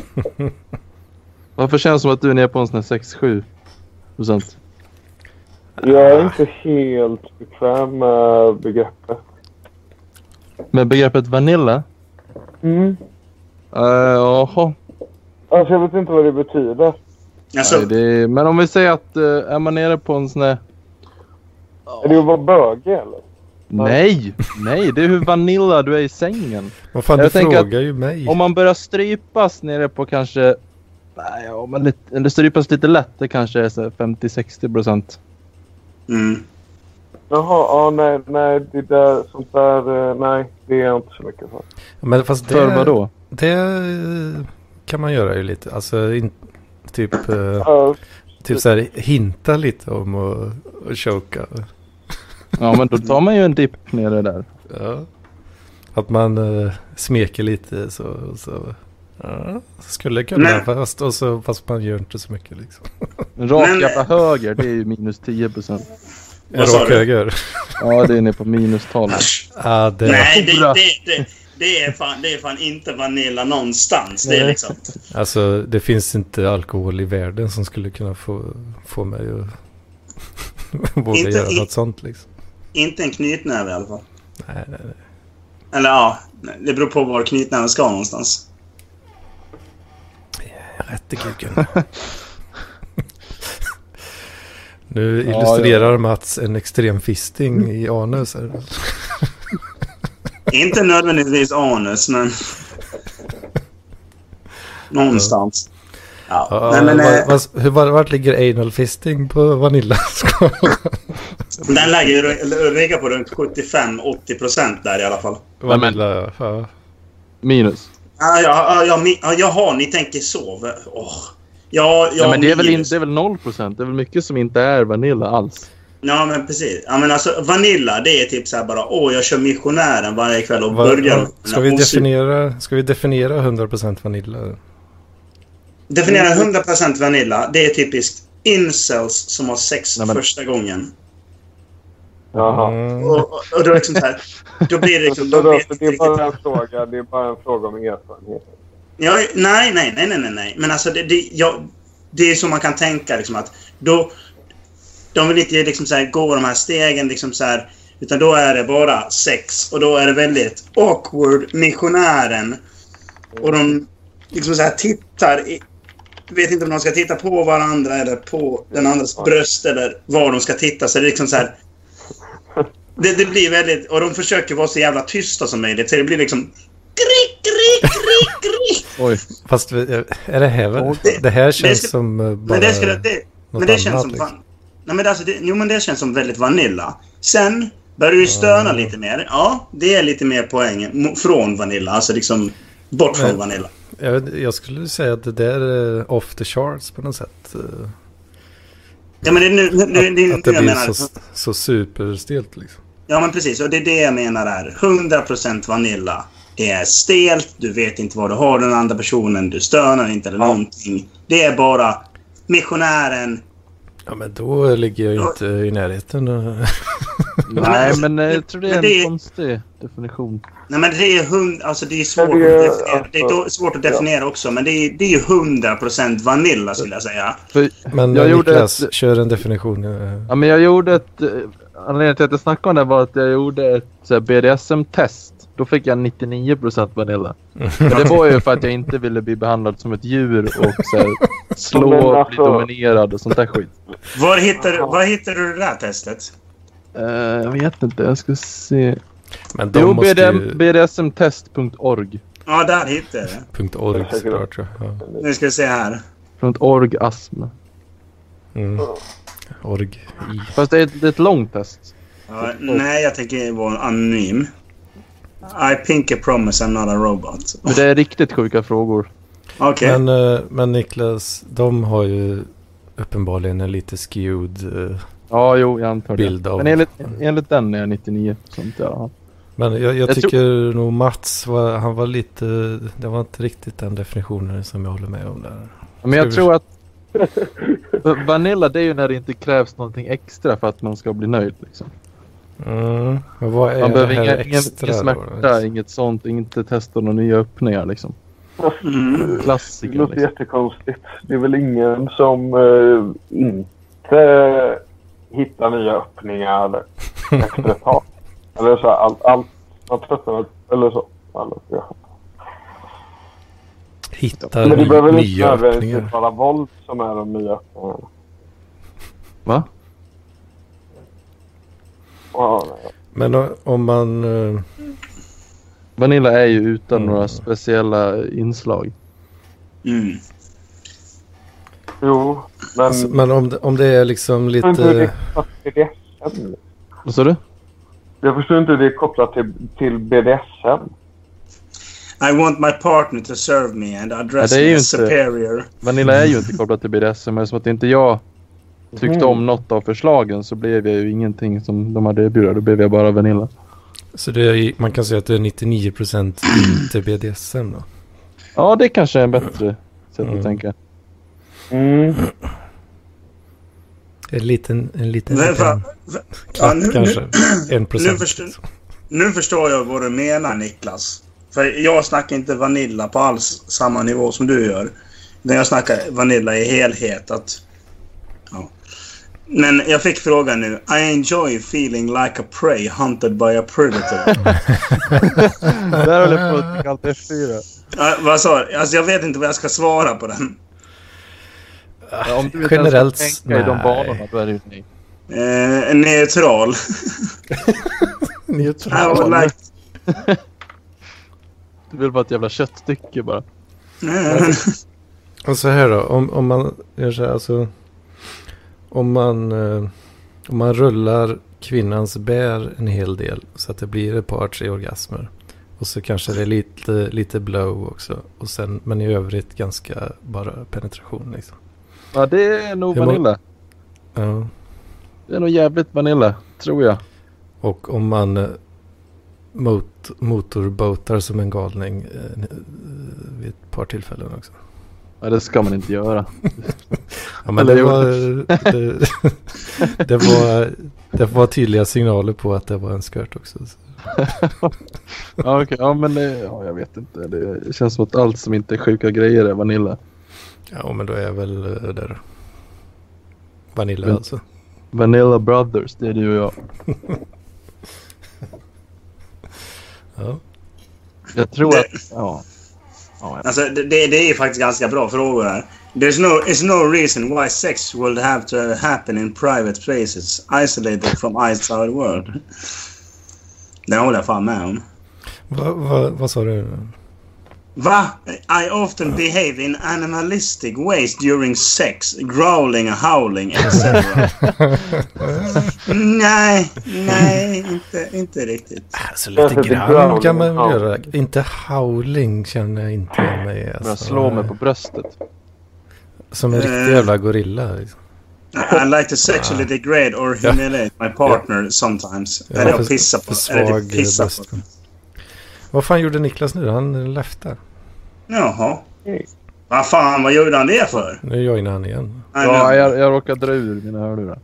[SPEAKER 4] Varför känns det som att du är nere på en sån här 6-7 procent?
[SPEAKER 3] jag är inte helt bekväm med begreppet.
[SPEAKER 4] Med begreppet Vanilla?
[SPEAKER 3] Mm.
[SPEAKER 4] Eh, Jaha.
[SPEAKER 3] Alltså, jag vet inte vad det betyder.
[SPEAKER 2] Alltså,
[SPEAKER 4] Nej, det är- men om vi säger att eh, är man nere på en sån här...
[SPEAKER 3] Är det att vara böge eller?
[SPEAKER 4] Nej! Nej, det är hur Vanilla du är i sängen.
[SPEAKER 1] Vad fan,
[SPEAKER 4] Jag
[SPEAKER 1] du
[SPEAKER 4] tänker att-
[SPEAKER 1] frågar ju mig.
[SPEAKER 4] Om man börjar strypas nere på kanske... Nej, om man lite, eller strypas lite lätt. Det kanske är så här 50-60 procent.
[SPEAKER 2] mm.
[SPEAKER 3] Jaha, ja, nej, nej, det där, sånt där, eh, nej, det är jag inte så mycket för.
[SPEAKER 1] Men fast det...
[SPEAKER 4] För vad då?
[SPEAKER 1] Det eh, kan man göra ju lite. Alltså in, typ, eh,
[SPEAKER 3] Ja,
[SPEAKER 1] typ så här hinta lite om att att choka.
[SPEAKER 4] Ja, men då tar man ju en dipp nere där.
[SPEAKER 1] Ja. Att man eh, smeker lite så. så ja, skulle kunna
[SPEAKER 2] Nej.
[SPEAKER 1] fast, och så, fast man gör inte så mycket liksom.
[SPEAKER 4] En rak
[SPEAKER 2] Men-
[SPEAKER 4] jävla höger, det är ju minus 10 procent.
[SPEAKER 1] En
[SPEAKER 2] Vad sa
[SPEAKER 1] rak
[SPEAKER 2] du?
[SPEAKER 1] höger.
[SPEAKER 4] Ja, det är nere på minus 12.
[SPEAKER 1] Ah, det,
[SPEAKER 2] Nej, det,
[SPEAKER 4] Stora.
[SPEAKER 2] det, det, det, är fan, det är fan inte Vanilla någonstans. Det är
[SPEAKER 1] Nej.
[SPEAKER 2] liksom...
[SPEAKER 1] Alltså det finns inte alkohol i världen som skulle kunna få, få mig att våga
[SPEAKER 2] Inte
[SPEAKER 1] göra
[SPEAKER 2] i-
[SPEAKER 1] något sånt liksom.
[SPEAKER 2] Inte en knytnäve i alla fall.
[SPEAKER 1] Nej, nej, nej.
[SPEAKER 2] Eller ja, det beror på var knytnäven ska någonstans.
[SPEAKER 1] Rätt i kuken. nu
[SPEAKER 4] Ja,
[SPEAKER 1] illustrerar Mats en extrem fisting i anus. här.
[SPEAKER 2] inte nödvändigtvis anus, men... någonstans. Ja.
[SPEAKER 1] Ja,
[SPEAKER 2] Nej, men, eh,
[SPEAKER 1] var, var, hur, var, vart ligger anal fisting på vanillaskalan?
[SPEAKER 2] Den lägger ju r- ligga på runt 75-80 procent där i alla fall.
[SPEAKER 4] men-
[SPEAKER 1] Vanilla, ja.
[SPEAKER 4] Minus.
[SPEAKER 2] Ja, ja, ja, mi- ja, jaha, ni tänker så. va? Åh. Ja, ja,
[SPEAKER 4] Nej, men det är, väl in,
[SPEAKER 2] minus.
[SPEAKER 4] det är väl 0 procent? Det är väl mycket som inte är Vanilla alls?
[SPEAKER 2] Ja, men precis. Ja, men alltså, vanilla, det är typ så här bara åh, jag kör missionären varje kväll och
[SPEAKER 1] Var,
[SPEAKER 2] börjar...
[SPEAKER 1] var, ska, vi
[SPEAKER 2] och su-
[SPEAKER 1] definiera, ska vi definiera 100% vanilla?
[SPEAKER 2] definiera 100 procent vanilla, det är typiskt incels som har sex
[SPEAKER 4] Nej, men-
[SPEAKER 2] första gången.
[SPEAKER 3] jaha.
[SPEAKER 1] Mm.
[SPEAKER 2] Och, och, och då, liksom så här, då blir det liksom...
[SPEAKER 3] Så
[SPEAKER 2] De
[SPEAKER 3] då,
[SPEAKER 2] vet
[SPEAKER 3] det
[SPEAKER 2] inte
[SPEAKER 3] är
[SPEAKER 2] riktigt
[SPEAKER 3] bara en fråga, det är bara en fråga om erfarenhet.
[SPEAKER 2] Ja, nej, nej, nej, nej, nej, nej. Men alltså det, det, ja, det är så man kan tänka liksom att då... de vill inte liksom så här, gå de här stegen. Liksom så här, utan då är det bara sex. Och då är det väldigt awkward, missionären. Och de liksom så här, tittar... I, vet inte om de ska titta på varandra eller på den andras bröst eller var de ska titta. Så det är liksom så här... Det, det blir väldigt... Och de försöker vara så jävla tysta som möjligt. Så det blir liksom... Krik, krik, krik, krik.
[SPEAKER 4] Oj.
[SPEAKER 1] Fast vi- eh, är det här väl?
[SPEAKER 2] Det-
[SPEAKER 1] Det här känns
[SPEAKER 2] ska-
[SPEAKER 1] som eh, bara...
[SPEAKER 2] Men det, skulle, det, men
[SPEAKER 1] något
[SPEAKER 2] det känns
[SPEAKER 1] annat,
[SPEAKER 2] som...
[SPEAKER 1] liksom.
[SPEAKER 2] Van, nej, men alltså, det, jo, men det känns som väldigt vanilla. Sen börjar du stöna lite mer. Ja, det är lite mer poäng mo- från vanilla. Alltså liksom bort från
[SPEAKER 1] Men-
[SPEAKER 2] vanilla.
[SPEAKER 1] Jag, vet- jag skulle säga att det där är off the charts på något sätt. eh,
[SPEAKER 2] Ja, men det är nu, nu, nu, nu,
[SPEAKER 1] Att det
[SPEAKER 2] jag
[SPEAKER 1] blir
[SPEAKER 2] menar.
[SPEAKER 1] så, så superstelt liksom.
[SPEAKER 2] Ja, men precis. Och det är det jag menar är 100% vanilla. Det är stelt, du vet inte vad du har den andra personen, du stönar inte eller någonting. Det är bara missionären.
[SPEAKER 1] Ja men då ligger jag ju
[SPEAKER 2] Ja.
[SPEAKER 1] inte i närheten. eh.
[SPEAKER 4] Nej, men eh, jag tror det är
[SPEAKER 2] Men det-
[SPEAKER 4] en konstig definition.
[SPEAKER 2] Nej, men det är, hund, alltså det är svårt
[SPEAKER 3] Men det är-
[SPEAKER 2] att definiera, det är
[SPEAKER 3] alltså,
[SPEAKER 2] då- svårt att definiera också, men det är, det är ju 100% vanilla skulle jag säga.
[SPEAKER 4] För
[SPEAKER 1] Men
[SPEAKER 4] Jag
[SPEAKER 1] jag
[SPEAKER 4] gjorde
[SPEAKER 1] Niklas,
[SPEAKER 4] ett-
[SPEAKER 1] kör en definition. eh.
[SPEAKER 4] Ja, men jag gjorde ett... eh, Anledningen till att jag snackade om det var att jag gjorde ett så här, BDSM-test. Då fick jag 99% vanilla. Men det var ju för att jag inte ville bli behandlad som ett djur och så här, slå,
[SPEAKER 3] Men
[SPEAKER 4] och bli
[SPEAKER 3] alltså-
[SPEAKER 4] dominerad och sånt där skit.
[SPEAKER 2] Var hittar, du- var hittar du det där testet?
[SPEAKER 4] Eh, jag vet inte, jag ska se.
[SPEAKER 1] Men de
[SPEAKER 4] Jo,
[SPEAKER 1] måste
[SPEAKER 4] BDM,
[SPEAKER 1] ju...
[SPEAKER 4] BDSMtest.org.
[SPEAKER 2] Ja, där hittar jag det.
[SPEAKER 1] .org såklart. Ja. Ja.
[SPEAKER 2] Nu ska vi se här.
[SPEAKER 4] Punkt .org ASM.
[SPEAKER 1] Mm. Org. I.
[SPEAKER 4] Fast det är, ett- det är ett långt test.
[SPEAKER 2] Ja, nej, jag tänker vara anonym. I pink a promise I'm not a robot.
[SPEAKER 4] Men det är riktigt sjuka frågor.
[SPEAKER 2] Okej.
[SPEAKER 1] Men, eh, men Niklas, de har ju uppenbarligen en lite skewed... eh,
[SPEAKER 4] Ja, jo, jag antar det.
[SPEAKER 1] Bild av-
[SPEAKER 4] Men enligt, enligt den är jag 99. Sånt, ja.
[SPEAKER 1] Men jag, jag,
[SPEAKER 4] tror-
[SPEAKER 1] tycker nog Mats, var, han var lite... Det var inte riktigt den definitionen som jag håller med om där.
[SPEAKER 4] Men jag
[SPEAKER 1] Ska vi-
[SPEAKER 4] tror att Va- Vanilla det är ju när det inte krävs någonting extra för att man ska bli nöjd. Liksom.
[SPEAKER 1] Mm. Men vad är
[SPEAKER 4] Man
[SPEAKER 1] det
[SPEAKER 4] behöver
[SPEAKER 1] här
[SPEAKER 4] inga, ingen,
[SPEAKER 1] extra liksom.
[SPEAKER 4] ingen smärta, inget sånt, inte testa några nya öppningar. Liksom.
[SPEAKER 2] Mm.
[SPEAKER 3] Det
[SPEAKER 4] Klassiker.
[SPEAKER 3] låter
[SPEAKER 4] Liksom.
[SPEAKER 3] jättekonstigt. Det är väl ingen som eh, inte hittar nya öppningar efter ett tag. Eller så här, allt, allt, man tröttnar väl- eller så. Alltså, ja.
[SPEAKER 1] Hitta
[SPEAKER 3] Men det
[SPEAKER 1] ny,
[SPEAKER 3] behöver väl inte
[SPEAKER 1] nya öppningar.
[SPEAKER 3] nödvändigtvis vara våld som är de nya öppningarna.
[SPEAKER 4] Va?
[SPEAKER 3] Ja, nej.
[SPEAKER 1] Men o- om man... eh,
[SPEAKER 4] Vanilla är ju utan
[SPEAKER 1] Mm.
[SPEAKER 4] några speciella inslag.
[SPEAKER 2] Mm.
[SPEAKER 3] Jo, men...
[SPEAKER 1] Alltså, men om, det- om det är liksom
[SPEAKER 3] jag förstår inte Mm, hur det
[SPEAKER 1] lite...
[SPEAKER 3] är kopplat till BDSM.
[SPEAKER 4] Vad sa du?
[SPEAKER 3] Jag förstår inte hur det är kopplat till, till BDSM.
[SPEAKER 2] I want my partner to serve me and address
[SPEAKER 4] Ja, det är ju
[SPEAKER 2] me
[SPEAKER 4] inte-
[SPEAKER 2] as superior.
[SPEAKER 4] Vanilla är ju inte kopplat till BDSM men eftersom att inte jag tyckte
[SPEAKER 1] Mm.
[SPEAKER 4] om något av förslagen så blev jag ju ingenting som de hade erbjudit. Då blev jag bara Vanilla.
[SPEAKER 1] Så det är, i- man kan säga att det är 99% inte BDSM då.
[SPEAKER 4] Ja, det kanske är en bättre sätt
[SPEAKER 1] Mm.
[SPEAKER 4] att tänka.
[SPEAKER 3] Mm.
[SPEAKER 1] En liten... En liten...
[SPEAKER 2] Men
[SPEAKER 1] liten
[SPEAKER 2] va- va- Ja,
[SPEAKER 1] knapp
[SPEAKER 2] nu,
[SPEAKER 1] kanske.
[SPEAKER 2] nu,
[SPEAKER 1] 1%.
[SPEAKER 2] nu förstår- nu förstår jag vad du menar Niklas. För jag snackar inte vanilla på alls samma nivå som du gör. Utan jag snackar vanilla i helhet. Att, ja. Men jag fick frågan nu. I enjoy feeling like a prey hunted by a predator.
[SPEAKER 4] Där höll jag på att trycka allt F4.
[SPEAKER 2] Ja, vad sa du? Alltså jag vet inte vad jag ska svara på den.
[SPEAKER 4] Ja, om du inte ens
[SPEAKER 1] Generellt...
[SPEAKER 4] kan tänka i de banorna då är det ju nej.
[SPEAKER 2] Eh, neutral. I would like...
[SPEAKER 4] Du vill vara ett jävla köttstycke bara.
[SPEAKER 2] Eh,
[SPEAKER 1] Och så här då, om, om man gör så här, alltså. Om man, eh, om man rullar kvinnans bär en hel del så att det blir ett par, tre orgasmer. Och så kanske det är lite, lite blow också. Och sen, men i övrigt ganska bara penetration liksom.
[SPEAKER 4] Ja, det är nog
[SPEAKER 1] Hur många-
[SPEAKER 4] Vanilla.
[SPEAKER 1] Ja.
[SPEAKER 4] Det är nog jävligt Vanilla, tror jag.
[SPEAKER 1] Och om man eh, mot, motorbåtar som en galning eh, eh, vid ett par tillfällen också.
[SPEAKER 4] Ja, det ska man inte göra.
[SPEAKER 1] Ja, men
[SPEAKER 4] Eller
[SPEAKER 1] det,
[SPEAKER 4] gjorde-
[SPEAKER 1] var, det, det, var, det var tydliga signaler på att det var en skört också. så.
[SPEAKER 4] Ja, okej. Ja, men det, ja, jag vet inte. Det känns som att allt som inte är sjuka grejer är Vanilla.
[SPEAKER 1] Ja, men då är jag väl eh, där. Vanilla
[SPEAKER 4] Men-
[SPEAKER 1] alltså.
[SPEAKER 4] Vanilla Brothers, det är du och jag.
[SPEAKER 1] Ja.
[SPEAKER 4] Jag tror att... Ja. ja
[SPEAKER 2] Alltså, det, det det är faktiskt ganska bra frågor här. There's no, it's no reason why sex would have to happen in private places, isolated from outside world. Den håller jag fan med om.
[SPEAKER 1] Va, va, vad sa du?
[SPEAKER 2] Va? I often behave in animalistic ways during sex, growling, howling etc.
[SPEAKER 1] Äh,
[SPEAKER 2] nej, nej, inte, inte riktigt.
[SPEAKER 1] Alltså
[SPEAKER 3] lite
[SPEAKER 1] lite
[SPEAKER 3] Kanske lite grann
[SPEAKER 1] grann
[SPEAKER 3] growling,
[SPEAKER 1] kan man väl
[SPEAKER 3] ja.
[SPEAKER 1] göra. Inte howling känner jag inte igen mig i,
[SPEAKER 4] Börja
[SPEAKER 1] alltså.
[SPEAKER 4] slå mig på bröstet.
[SPEAKER 1] Som en riktig
[SPEAKER 2] Eh.
[SPEAKER 1] jävla gorilla. Liksom.
[SPEAKER 2] I like to sexually degrade or humiliate my partner sometimes.
[SPEAKER 1] Ja,
[SPEAKER 2] eller
[SPEAKER 1] för-
[SPEAKER 2] jag pissar
[SPEAKER 1] för
[SPEAKER 2] på. Eller
[SPEAKER 1] svag,
[SPEAKER 2] det pissar
[SPEAKER 1] eh,
[SPEAKER 2] på.
[SPEAKER 1] bröst. Vad fan gjorde Niklas nu? Han leftade.
[SPEAKER 2] Jaha. Vad fan, vad gjorde han det för?
[SPEAKER 1] Nu joinar han igen.
[SPEAKER 2] Nej,
[SPEAKER 4] Ja,
[SPEAKER 2] nu-
[SPEAKER 4] jag, jag råkade dra ur mina hörlurar.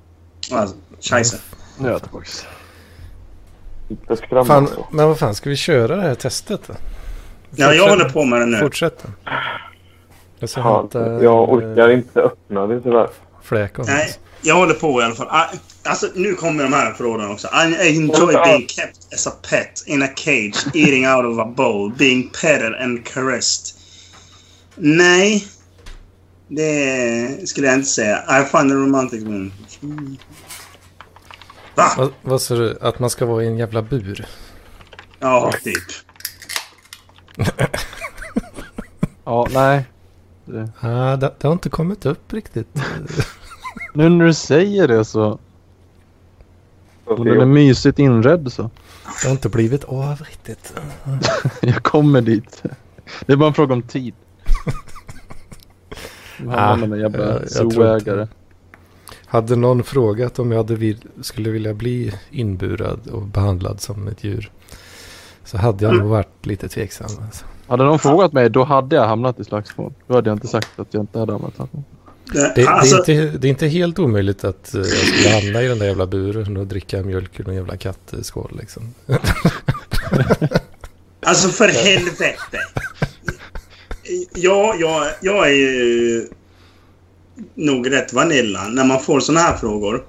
[SPEAKER 2] Alltså, scheisse.
[SPEAKER 4] Nu är jag tillbaks.
[SPEAKER 3] Lite skrämmande.
[SPEAKER 1] Fan, men vad fan, ska vi köra det här testet? då?
[SPEAKER 2] Ja, jag
[SPEAKER 1] Fortsätt-
[SPEAKER 2] håller på med det nu.
[SPEAKER 1] Fortsätt. då. Jag eh, ska
[SPEAKER 3] Fan,
[SPEAKER 1] hämta
[SPEAKER 3] jag
[SPEAKER 1] eh,
[SPEAKER 3] orkar inte öppna det tyvärr.
[SPEAKER 1] fläkon.
[SPEAKER 2] Nej, jag håller på i alla fall. I, alltså, nu kommer de här förorden också. I enjoy being kept as a pet in a cage, eating out of a bowl, being petted and caressed. Nej, det skulle jag inte säga. I find the romantic one. Va?
[SPEAKER 1] Vad, vad sa du? Att man ska vara i en jävla bur?
[SPEAKER 2] Ja, typ.
[SPEAKER 4] Ja, nej.
[SPEAKER 1] Ah, det, det har inte kommit upp riktigt.
[SPEAKER 4] Nu när du säger det så. Och den är mysigt inredd så.
[SPEAKER 1] Det har inte blivit av riktigt.
[SPEAKER 4] Jag kommer dit. Det är bara en fråga om tid. De här
[SPEAKER 1] Ah,
[SPEAKER 4] mannen är
[SPEAKER 1] jag-
[SPEAKER 4] jävla
[SPEAKER 1] jag tror inte.
[SPEAKER 4] zooägare.
[SPEAKER 1] Hade någon frågat om jag hade vil- skulle vilja bli inburad och behandlad som ett djur så hade
[SPEAKER 2] Mm.
[SPEAKER 1] jag nog varit lite tveksam. Alltså.
[SPEAKER 4] Hade någon frågat mig då hade jag hamnat i slagsmål. Då hade jag inte sagt att jag inte hade hamnat i slagsmål.
[SPEAKER 1] Det, det,
[SPEAKER 2] alltså,
[SPEAKER 1] är inte, det är inte helt omöjligt att eh, jag skulle hamna i den där jävla buren och dricka mjölk ur en jävla kattskål. Liksom.
[SPEAKER 2] Alltså för helvete! Ja, jag, jag är ju nog rätt vanilla när man får såna här frågor.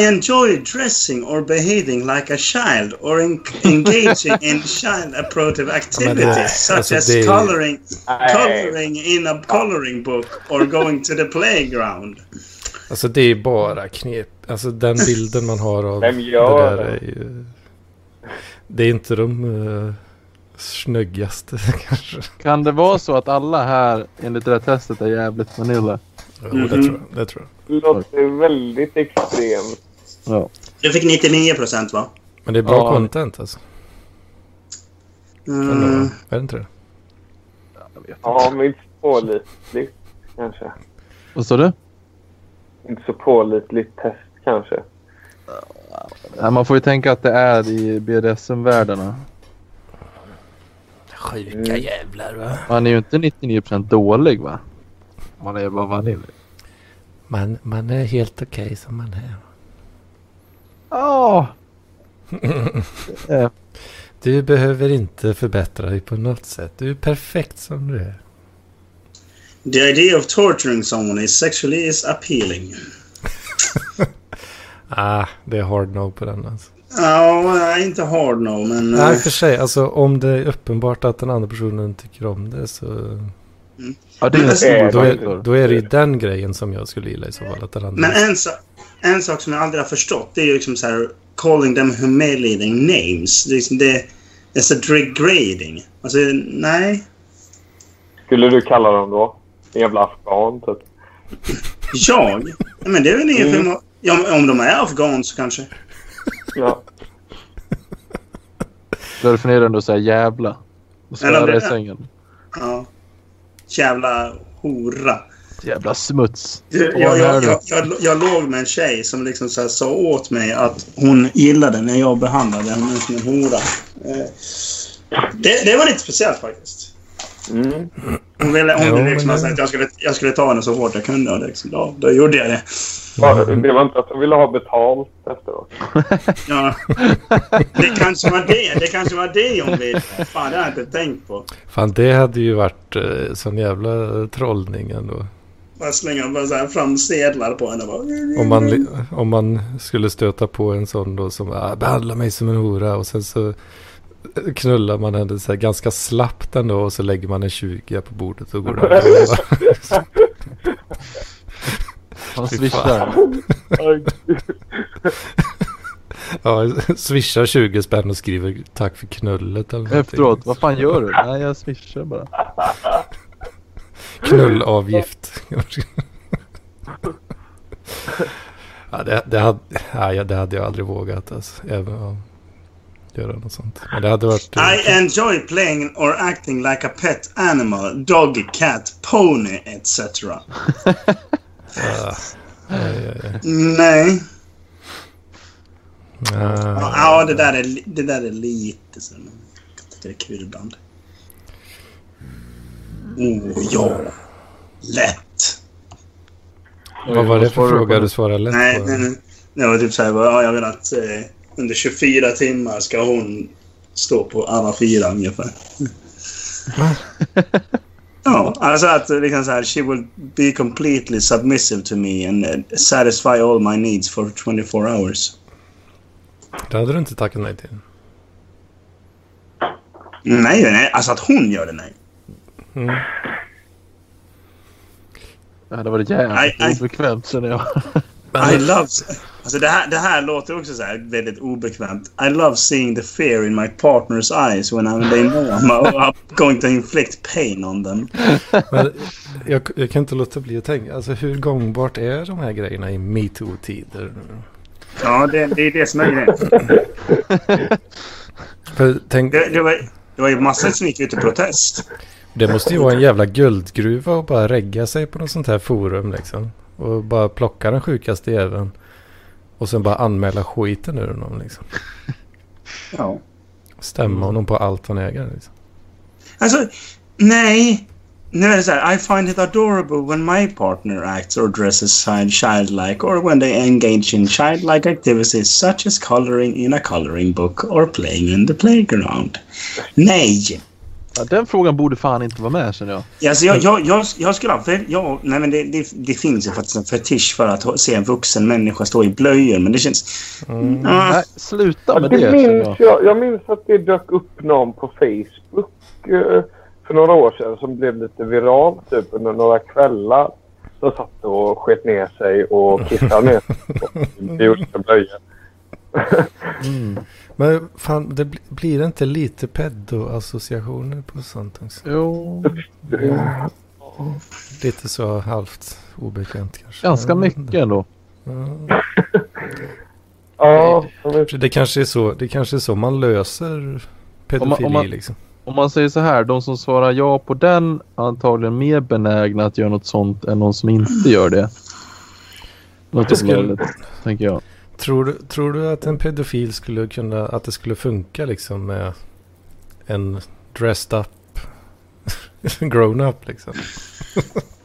[SPEAKER 2] I enjoy dressing or behaving like a child or en- engaging in child appropriate
[SPEAKER 1] Ja, men det-
[SPEAKER 2] activities such
[SPEAKER 1] alltså,
[SPEAKER 2] as
[SPEAKER 1] det är-
[SPEAKER 2] coloring, coloring in a coloring book or going to the playground.
[SPEAKER 1] Alltså det är bara knep. Alltså den bilden man har av
[SPEAKER 3] Vem
[SPEAKER 1] det där
[SPEAKER 3] gör det?
[SPEAKER 1] är ju... Det är inte de uh, snyggaste kanske.
[SPEAKER 4] Kan det vara så att alla här enligt det här testet är jävligt vanilla?
[SPEAKER 1] Jo, det tror jag. Det tror jag.
[SPEAKER 3] Det låter väldigt extremt.
[SPEAKER 4] Ja.
[SPEAKER 2] Du fick 99 procent va?
[SPEAKER 1] Men det är bra
[SPEAKER 4] Ja.
[SPEAKER 1] content alltså. Eller,
[SPEAKER 2] Mm.
[SPEAKER 1] Är det inte det?
[SPEAKER 3] Ja, men inte så pålitligt kanske.
[SPEAKER 4] Vad sa du?
[SPEAKER 3] Inte så pålitligt test kanske.
[SPEAKER 4] Nej, man får ju tänka att det är i BDSM-världarna.
[SPEAKER 1] Sjuka jävlar va?
[SPEAKER 4] Man är ju inte 99% dålig va? Man är ju bara vanilj.
[SPEAKER 1] Man, man är helt okej som man är.
[SPEAKER 4] Ja!
[SPEAKER 1] Du behöver inte förbättra dig på något sätt. Du är perfekt som du är.
[SPEAKER 2] The idea of torturing someone is sexually is appealing.
[SPEAKER 1] Ah, det är hard no på den alltså.
[SPEAKER 2] Ja, jag är inte hard no, men...
[SPEAKER 1] Nej,
[SPEAKER 2] eh,
[SPEAKER 1] för sig. Alltså om det är uppenbart att den andra personen tycker om det så...
[SPEAKER 4] ja, det är en stor
[SPEAKER 3] Eh,
[SPEAKER 1] Då
[SPEAKER 4] faktor.
[SPEAKER 1] är, då är det ju den grejen som jag skulle gilla i så fall. Att den andra...
[SPEAKER 2] Men en, sa- en sak som jag aldrig har förstått det är ju liksom så här calling them humiliating names. Det är liksom det... It's a degrading. Alltså, nej.
[SPEAKER 3] Skulle du kalla dem då? En jävla afghan typ.
[SPEAKER 2] Jag? Nej, Men det är väl inget... Mm. Ja, om- om de är afghan så kanske.
[SPEAKER 3] Ja.
[SPEAKER 4] Då är det förnedrande att säga jävla. Och
[SPEAKER 2] Eller om
[SPEAKER 4] svära
[SPEAKER 2] det-
[SPEAKER 4] i sängen.
[SPEAKER 2] Ja. Jävla hora.
[SPEAKER 4] Jävla smuts.
[SPEAKER 2] Du,
[SPEAKER 4] Vad
[SPEAKER 2] jag,
[SPEAKER 4] är
[SPEAKER 2] jag,
[SPEAKER 4] det?
[SPEAKER 2] jag, jag, jag låg med en tjej som liksom så här sa åt mig att hon gillade när jag behandlade henne som en hora. Eh, Det, det var lite speciellt faktiskt.
[SPEAKER 3] Mm.
[SPEAKER 2] Hon ville, hon
[SPEAKER 1] Jo,
[SPEAKER 2] ville
[SPEAKER 1] men
[SPEAKER 2] liksom
[SPEAKER 1] det-
[SPEAKER 2] alltså att jag skulle, jag skulle ta henne så hårt jag kunde och liksom, då, då gjorde jag det.
[SPEAKER 3] Bara- Det var inte att de ville ha betalt efteråt.
[SPEAKER 2] Ja. Det kanske var det. Det kanske var det hon ville. Fan, det har jag inte tänkt på.
[SPEAKER 1] Fan, det hade ju varit eh, sån jävla eh, trollning ändå.
[SPEAKER 2] Bara slänga bara så här fram sedlar på henne. Bara.
[SPEAKER 1] Om man, li- om man skulle stöta på en sån då som ah, behandlar mig som en hora och sen så eh, knullar man henne så här ganska slappt ändå och så lägger man en 20 på bordet och går därifrån.
[SPEAKER 4] Han
[SPEAKER 1] Fy
[SPEAKER 4] swishar.
[SPEAKER 3] Aj,
[SPEAKER 1] Ja, swishar 20 spänn och skriver tack för knullet eller någonting.
[SPEAKER 4] Efteråt, vad fan gör du? Nej, jag swishar bara.
[SPEAKER 1] Knullavgift. ja, det, det, hade, nej, ja, det hade jag aldrig vågat alltså. Även om göra något sånt. Men det hade varit... eh,
[SPEAKER 2] I enjoy playing or acting like a pet animal, dog, cat, pony, etc.
[SPEAKER 1] ah, aj, aj, aj.
[SPEAKER 2] Nej.
[SPEAKER 1] Ah.
[SPEAKER 2] Ja, det där är, li- det där är lite så. Jag tycker det är kul ibland.
[SPEAKER 1] Mm.
[SPEAKER 2] Oh, ja. Lätt.
[SPEAKER 1] Vad var det för
[SPEAKER 4] Svarar du på
[SPEAKER 1] fråga
[SPEAKER 4] det?
[SPEAKER 1] du svarade lätt
[SPEAKER 2] Nej,
[SPEAKER 1] på?
[SPEAKER 2] nej, nej. Det var typ så här, bara, ja, jag vill att eh, under 24 timmar ska hon stå på alla fyra ungefär. Ja, alltså att liksom så här, she will be completely submissive to me and eh, satisfy all my needs for 24 hours.
[SPEAKER 1] Det hade du inte tackat nej till.
[SPEAKER 2] Nej, nej, alltså att hon gör det, nej.
[SPEAKER 4] Det hade varit
[SPEAKER 2] Aj, aj.
[SPEAKER 4] jävligt obekvämt känner jag.
[SPEAKER 2] I love... Alltså det här, det här låter också så här väldigt obekvämt. I love seeing the fear in my partner's eyes when I'm, they know I'm, I'm going to inflict pain on them.
[SPEAKER 1] Men jag, jag kan inte låta bli att tänka, alltså hur gångbart är de här grejerna i metoo-tider?
[SPEAKER 2] Ja, det, det är det som är grejen.
[SPEAKER 1] För tänk,
[SPEAKER 2] Det, det, var, det var ju massor som gick ut i protest.
[SPEAKER 1] det måste ju vara en jävla guldgruva att bara regga sig på något sånt här forum liksom. Och bara plocka den sjukaste jäveln. Och sen bara anmäla skiten ur honom liksom.
[SPEAKER 2] Ja.
[SPEAKER 1] Stämma honom på allt han äger liksom.
[SPEAKER 2] Alltså, nej. Nu är det så här. I find it adorable when my partner acts or dresses childlike or when they engage in childlike activities such as coloring in a coloring book or playing in the playground. Nej!
[SPEAKER 4] Ja, den frågan borde fan inte vara med känner jag.
[SPEAKER 2] Alltså jag, jag, jag, jag skulle ha... För jag, nej men det, det, det finns ju faktiskt en fetisch för att ha- se en vuxen människa stå i blöjor, men det känns... Ah,
[SPEAKER 4] Nej, sluta med det
[SPEAKER 3] det
[SPEAKER 4] känner
[SPEAKER 3] minns
[SPEAKER 4] jag.
[SPEAKER 3] jag, jag minns att det dök upp någon på Facebook eh, för några år sedan som blev lite viral typ under några kvällar. Som satt och sket ner sig och kissade ner sig i olika blöjor.
[SPEAKER 1] Men fan, det bli- blir inte lite pedo-associationer på sånt också?
[SPEAKER 4] Jo,
[SPEAKER 1] Lite så halvt obekvämt kanske.
[SPEAKER 4] ganska
[SPEAKER 1] Jag vet
[SPEAKER 4] mycket ändå.
[SPEAKER 1] inte. Ja.
[SPEAKER 3] Ja, jag vet
[SPEAKER 1] För Det kanske är så, det kanske är så man löser pedofili
[SPEAKER 4] Om man- om man-
[SPEAKER 1] liksom.
[SPEAKER 4] Om man säger så här, de som svarar ja på den är antagligen mer benägna att göra något sånt än de som inte gör det. Något
[SPEAKER 1] skulle-
[SPEAKER 4] olagligt, tänker jag.
[SPEAKER 1] Tror du, tror du att en pedofil skulle kunna, att det skulle funka liksom med en dressed up grown up liksom?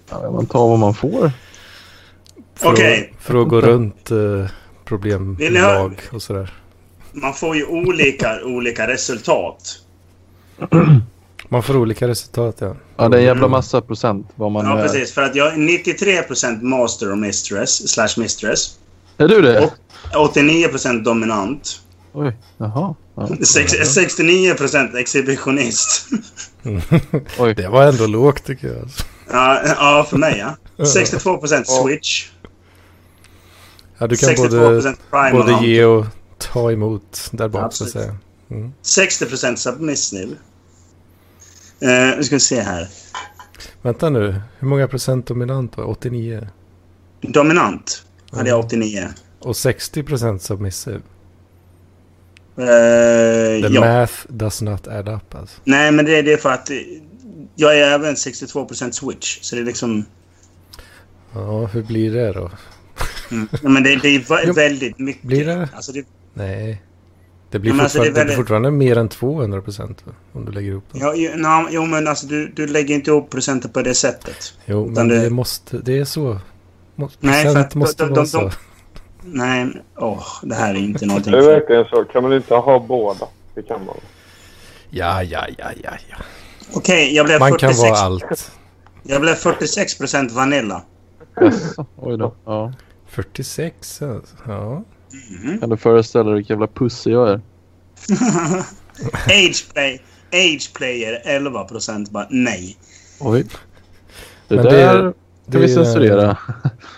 [SPEAKER 4] Ja, man tar vad man får.
[SPEAKER 1] För, att-
[SPEAKER 2] Okej.
[SPEAKER 1] för att gå runt eh, problem
[SPEAKER 2] Vill ni ha-
[SPEAKER 1] lag och sådär.
[SPEAKER 2] man får ju olika, olika resultat.
[SPEAKER 1] Man får olika resultat ja. Mm.
[SPEAKER 4] Ja, det är en jävla massa procent vad man eh,
[SPEAKER 2] Ja,
[SPEAKER 4] är.
[SPEAKER 2] precis. För att jag är 93% master och mistress, slash mistress.
[SPEAKER 4] Är du det?
[SPEAKER 2] Och- 89% dominant.
[SPEAKER 4] Oj, jaha. Ja.
[SPEAKER 2] Sex, 69% exhibitionist.
[SPEAKER 4] Oj.
[SPEAKER 1] Det var ändå lågt tycker jag. Alltså.
[SPEAKER 2] Ja, ja för mig ja. 62% switch.
[SPEAKER 1] Ja, du kan
[SPEAKER 2] 62%
[SPEAKER 1] både,
[SPEAKER 2] primal.
[SPEAKER 1] både
[SPEAKER 2] hunt,
[SPEAKER 1] ge och ta emot där bak så att
[SPEAKER 2] Absolut.
[SPEAKER 1] säga.
[SPEAKER 2] 60% submissive. Eh, nu ska vi se här.
[SPEAKER 1] Vänta nu, hur många procent dominant var det? 89?
[SPEAKER 2] Dominant hade jag Eh, 89.
[SPEAKER 1] Och 60 procent submissive?
[SPEAKER 2] Eh,
[SPEAKER 1] The
[SPEAKER 2] ja.
[SPEAKER 1] math does not add up alltså.
[SPEAKER 2] Nej, men det, det är för att eh, jag är även 62% switch. Så det är liksom...
[SPEAKER 1] Ja, hur blir det då?
[SPEAKER 2] Mm. Nej, Men det, det är vä-
[SPEAKER 1] Jo.
[SPEAKER 2] väldigt mycket.
[SPEAKER 1] Blir det?
[SPEAKER 2] Alltså det
[SPEAKER 1] Nej. Det blir,
[SPEAKER 2] Ja, men alltså,
[SPEAKER 1] fortfarande,
[SPEAKER 2] det är
[SPEAKER 1] det blir
[SPEAKER 2] väldigt-
[SPEAKER 1] fortfarande mer än 200 procent om du lägger ihop dem.
[SPEAKER 2] Ja, jo, na, jo men alltså du, du lägger inte ihop procenten på det sättet.
[SPEAKER 1] Jo, men
[SPEAKER 2] utan
[SPEAKER 1] det,
[SPEAKER 2] det-
[SPEAKER 1] måste, det är så. Må,
[SPEAKER 2] Nej, för
[SPEAKER 1] procent
[SPEAKER 2] att
[SPEAKER 1] måste
[SPEAKER 2] de- de-
[SPEAKER 1] vara
[SPEAKER 2] de-
[SPEAKER 1] så.
[SPEAKER 2] Nej, men- åh, det här är inte någonting
[SPEAKER 3] Det är
[SPEAKER 2] för...
[SPEAKER 3] verkligen så. Kan man inte ha båda? Det kan man.
[SPEAKER 1] Ja, ja, ja, ja, ja.
[SPEAKER 2] Okej, jag blev
[SPEAKER 1] Man kan
[SPEAKER 2] 46...
[SPEAKER 1] vara allt.
[SPEAKER 2] Jag blev 46 procent vanilla.
[SPEAKER 4] Jaså, oj då. Ja.
[SPEAKER 1] 46 alltså. Ja.
[SPEAKER 2] Mm.
[SPEAKER 4] Kan du föreställa dig vilken jävla pussy jag är?
[SPEAKER 2] Age, play, age player 11 procent bara nej.
[SPEAKER 4] Oj. Det
[SPEAKER 1] Men det-
[SPEAKER 4] där det,
[SPEAKER 1] det
[SPEAKER 4] kan vi
[SPEAKER 1] är-
[SPEAKER 4] censurera.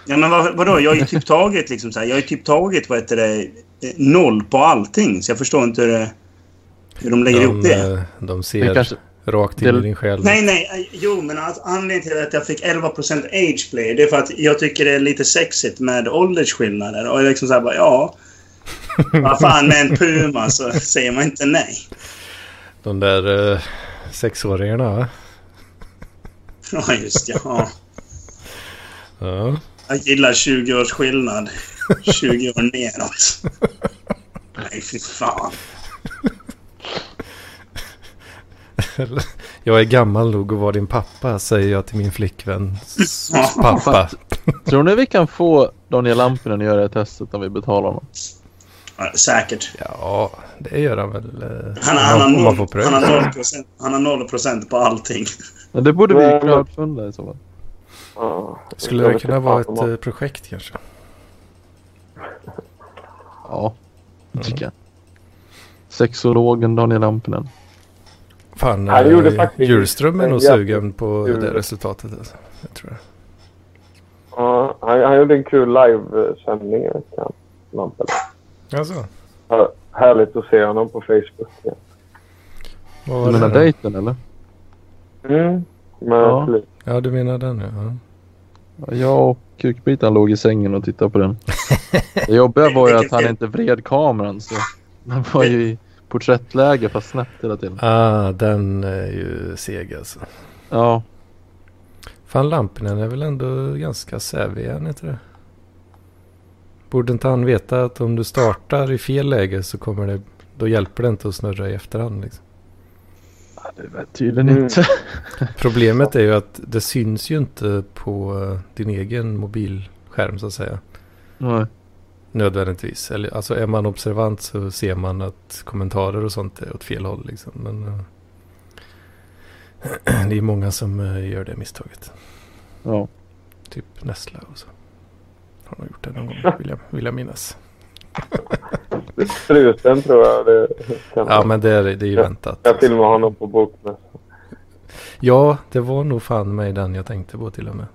[SPEAKER 2] Ja, men vad, vadå? Jag har ju typ tagit liksom så här, jag har ju typ tagit vad heter det, eh, noll på allting. Så jag förstår inte hur, det, hur de lägger ihop
[SPEAKER 1] De,
[SPEAKER 2] det.
[SPEAKER 1] eh, de
[SPEAKER 4] Det
[SPEAKER 1] ser
[SPEAKER 4] kanske,
[SPEAKER 1] rakt in
[SPEAKER 4] det-
[SPEAKER 1] i din själ.
[SPEAKER 2] Nej, nej. eh, Jo, men att anledningen till att jag fick 11 age player, det är för att jag tycker det är lite sexigt med åldersskillnader. Och jag liksom så här bara, ja. Vad fan, med en puma så säger man inte nej.
[SPEAKER 1] De där eh, sexåringarna va?
[SPEAKER 2] Ja, just det. Ja.
[SPEAKER 1] Ja.
[SPEAKER 2] Jag gillar 20 års skillnad. 20 år neråt. Nej, fy fan.
[SPEAKER 1] Jag är gammal nog att vara din pappa säger jag till min flickväns pappa.
[SPEAKER 4] tror ni vi kan få Daniel Lampinen att göra det här testet om vi betalar honom?
[SPEAKER 2] Ja, säkert.
[SPEAKER 1] Ja, det gör han väl. eh,
[SPEAKER 2] Han,
[SPEAKER 1] om
[SPEAKER 2] han, har
[SPEAKER 1] om man får
[SPEAKER 2] noll,
[SPEAKER 1] pröva.
[SPEAKER 2] han, har noll procent, han har noll procent på allting.
[SPEAKER 4] Men det borde vi
[SPEAKER 3] Nej,
[SPEAKER 4] crowdfunda i så fall.
[SPEAKER 3] Ja.
[SPEAKER 1] Skulle
[SPEAKER 3] Jag
[SPEAKER 1] det
[SPEAKER 3] vet
[SPEAKER 1] kunna
[SPEAKER 3] inte
[SPEAKER 1] vara
[SPEAKER 3] fan
[SPEAKER 1] ett
[SPEAKER 3] vad-
[SPEAKER 1] eh, projekt kanske?
[SPEAKER 4] Ja, det tycker jag. Sexologen Daniel Lampinen.
[SPEAKER 1] Fan,
[SPEAKER 3] Han gjorde
[SPEAKER 1] eh,
[SPEAKER 3] faktiskt
[SPEAKER 1] Hjulström är
[SPEAKER 3] en
[SPEAKER 1] nog
[SPEAKER 3] jävligt
[SPEAKER 1] sugen på
[SPEAKER 3] kul-
[SPEAKER 1] det resultatet. Alltså. Jag tror det.
[SPEAKER 3] Ja, han, han gjorde en kul livesändning i veckan. Lampen.
[SPEAKER 1] Alltså,
[SPEAKER 3] Här- Härligt att se honom på Facebook. igen.
[SPEAKER 1] vad var
[SPEAKER 4] Du menar
[SPEAKER 1] det? då?
[SPEAKER 4] dejten eller?
[SPEAKER 3] Mm. Med
[SPEAKER 4] Ja.
[SPEAKER 3] flit.
[SPEAKER 1] Ja, du menar den ja. ja.
[SPEAKER 4] Ja, Jag och kukbitan låg i sängen och tittade på den. Det jobbiga var ju att han inte vred kameran så den var ju i porträttläge fast snett hela tiden.
[SPEAKER 1] Ah, den är ju seg alltså.
[SPEAKER 4] Ja,
[SPEAKER 1] Fan, Lampinen är väl ändå ganska sävig, är han inte det? Borde inte han veta att om du startar i fel läge så kommer det, då hjälper det inte att snurra i efterhand. Liksom.
[SPEAKER 4] det var tydligen
[SPEAKER 3] Mm.
[SPEAKER 4] inte.
[SPEAKER 1] Problemet är ju att det syns ju inte på eh, din egen mobilskärm så att säga.
[SPEAKER 4] Nej.
[SPEAKER 1] Nödvändigtvis. Eller, alltså är man observant så ser man att kommentarer och sånt är åt fel håll. Liksom. Men, eh, det är många som eh, gör det misstaget.
[SPEAKER 4] Ja.
[SPEAKER 1] Typ Nessla och så. Har de gjort det någon gång vill jag, vill jag minnas.
[SPEAKER 3] Struten tror jag det kan
[SPEAKER 1] Ja men det är, det är ju väntat.
[SPEAKER 3] Jag filmade honom på bokmässan.
[SPEAKER 1] Ja det var nog fan mig den jag tänkte på till och med.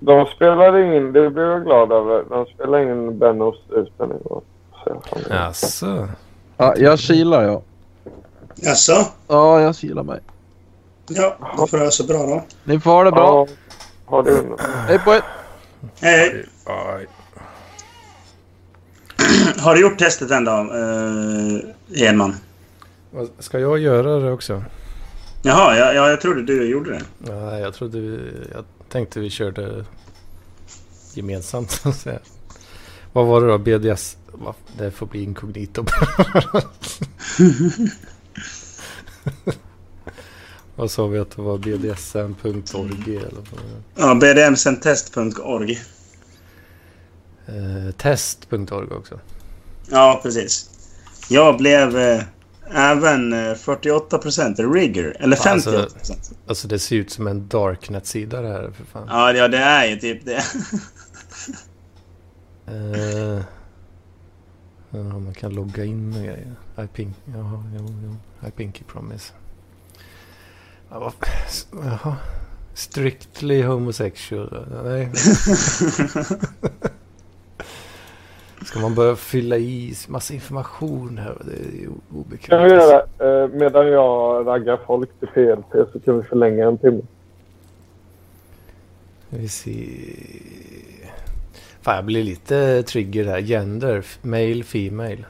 [SPEAKER 3] De spelade in, det blev jag glad över, de spelade in Bennos Struten igår. Så jag fan-
[SPEAKER 1] Alltså,
[SPEAKER 4] Ja, jag kilar jag.
[SPEAKER 2] Jaså?
[SPEAKER 4] Ja, jag kilar mig.
[SPEAKER 2] Ja, då får jag så bra då.
[SPEAKER 4] Ni får ha det bra.
[SPEAKER 3] Ja, ha det under.
[SPEAKER 4] Hej på er.
[SPEAKER 2] Eh, har du gjort testet än då, eh, Edman?
[SPEAKER 1] vad- Ska jag göra det också?
[SPEAKER 2] Jaha, ja, ja, jag trodde du gjorde det.
[SPEAKER 1] Nej, jag trodde vi, jag tänkte vi körde gemensamt. så att säga. Vad var det då? BDS? Va, Det får bli inkognito. Vad sa vi att det var? BDSM.org eller vad var det?
[SPEAKER 2] Ja, bdmsentest.org.
[SPEAKER 1] eh, Test.org också.
[SPEAKER 2] Ja, precis. Jag blev eh, även eh, 48 procent rigger. Eller 58
[SPEAKER 1] Alltså- Alltså det ser ut som en darknet-sida det här för fan.
[SPEAKER 2] Ja, det- ja, det är ju typ det.
[SPEAKER 1] Eh, ja, man kan logga in och grejer. I pink, jaha, jo, jo. I pinky promise. Ja, vad, jaha. Strictly homosexual. Nej. Ska man börja fylla i massa information här? Det är ju
[SPEAKER 3] Kan vi
[SPEAKER 1] obekvämt.
[SPEAKER 3] göra, eh, medan jag raggar folk till PLP så kan vi förlänga en timme.
[SPEAKER 1] Vi ser. Fan, jag blir lite trigger här. Gender, f- male, female.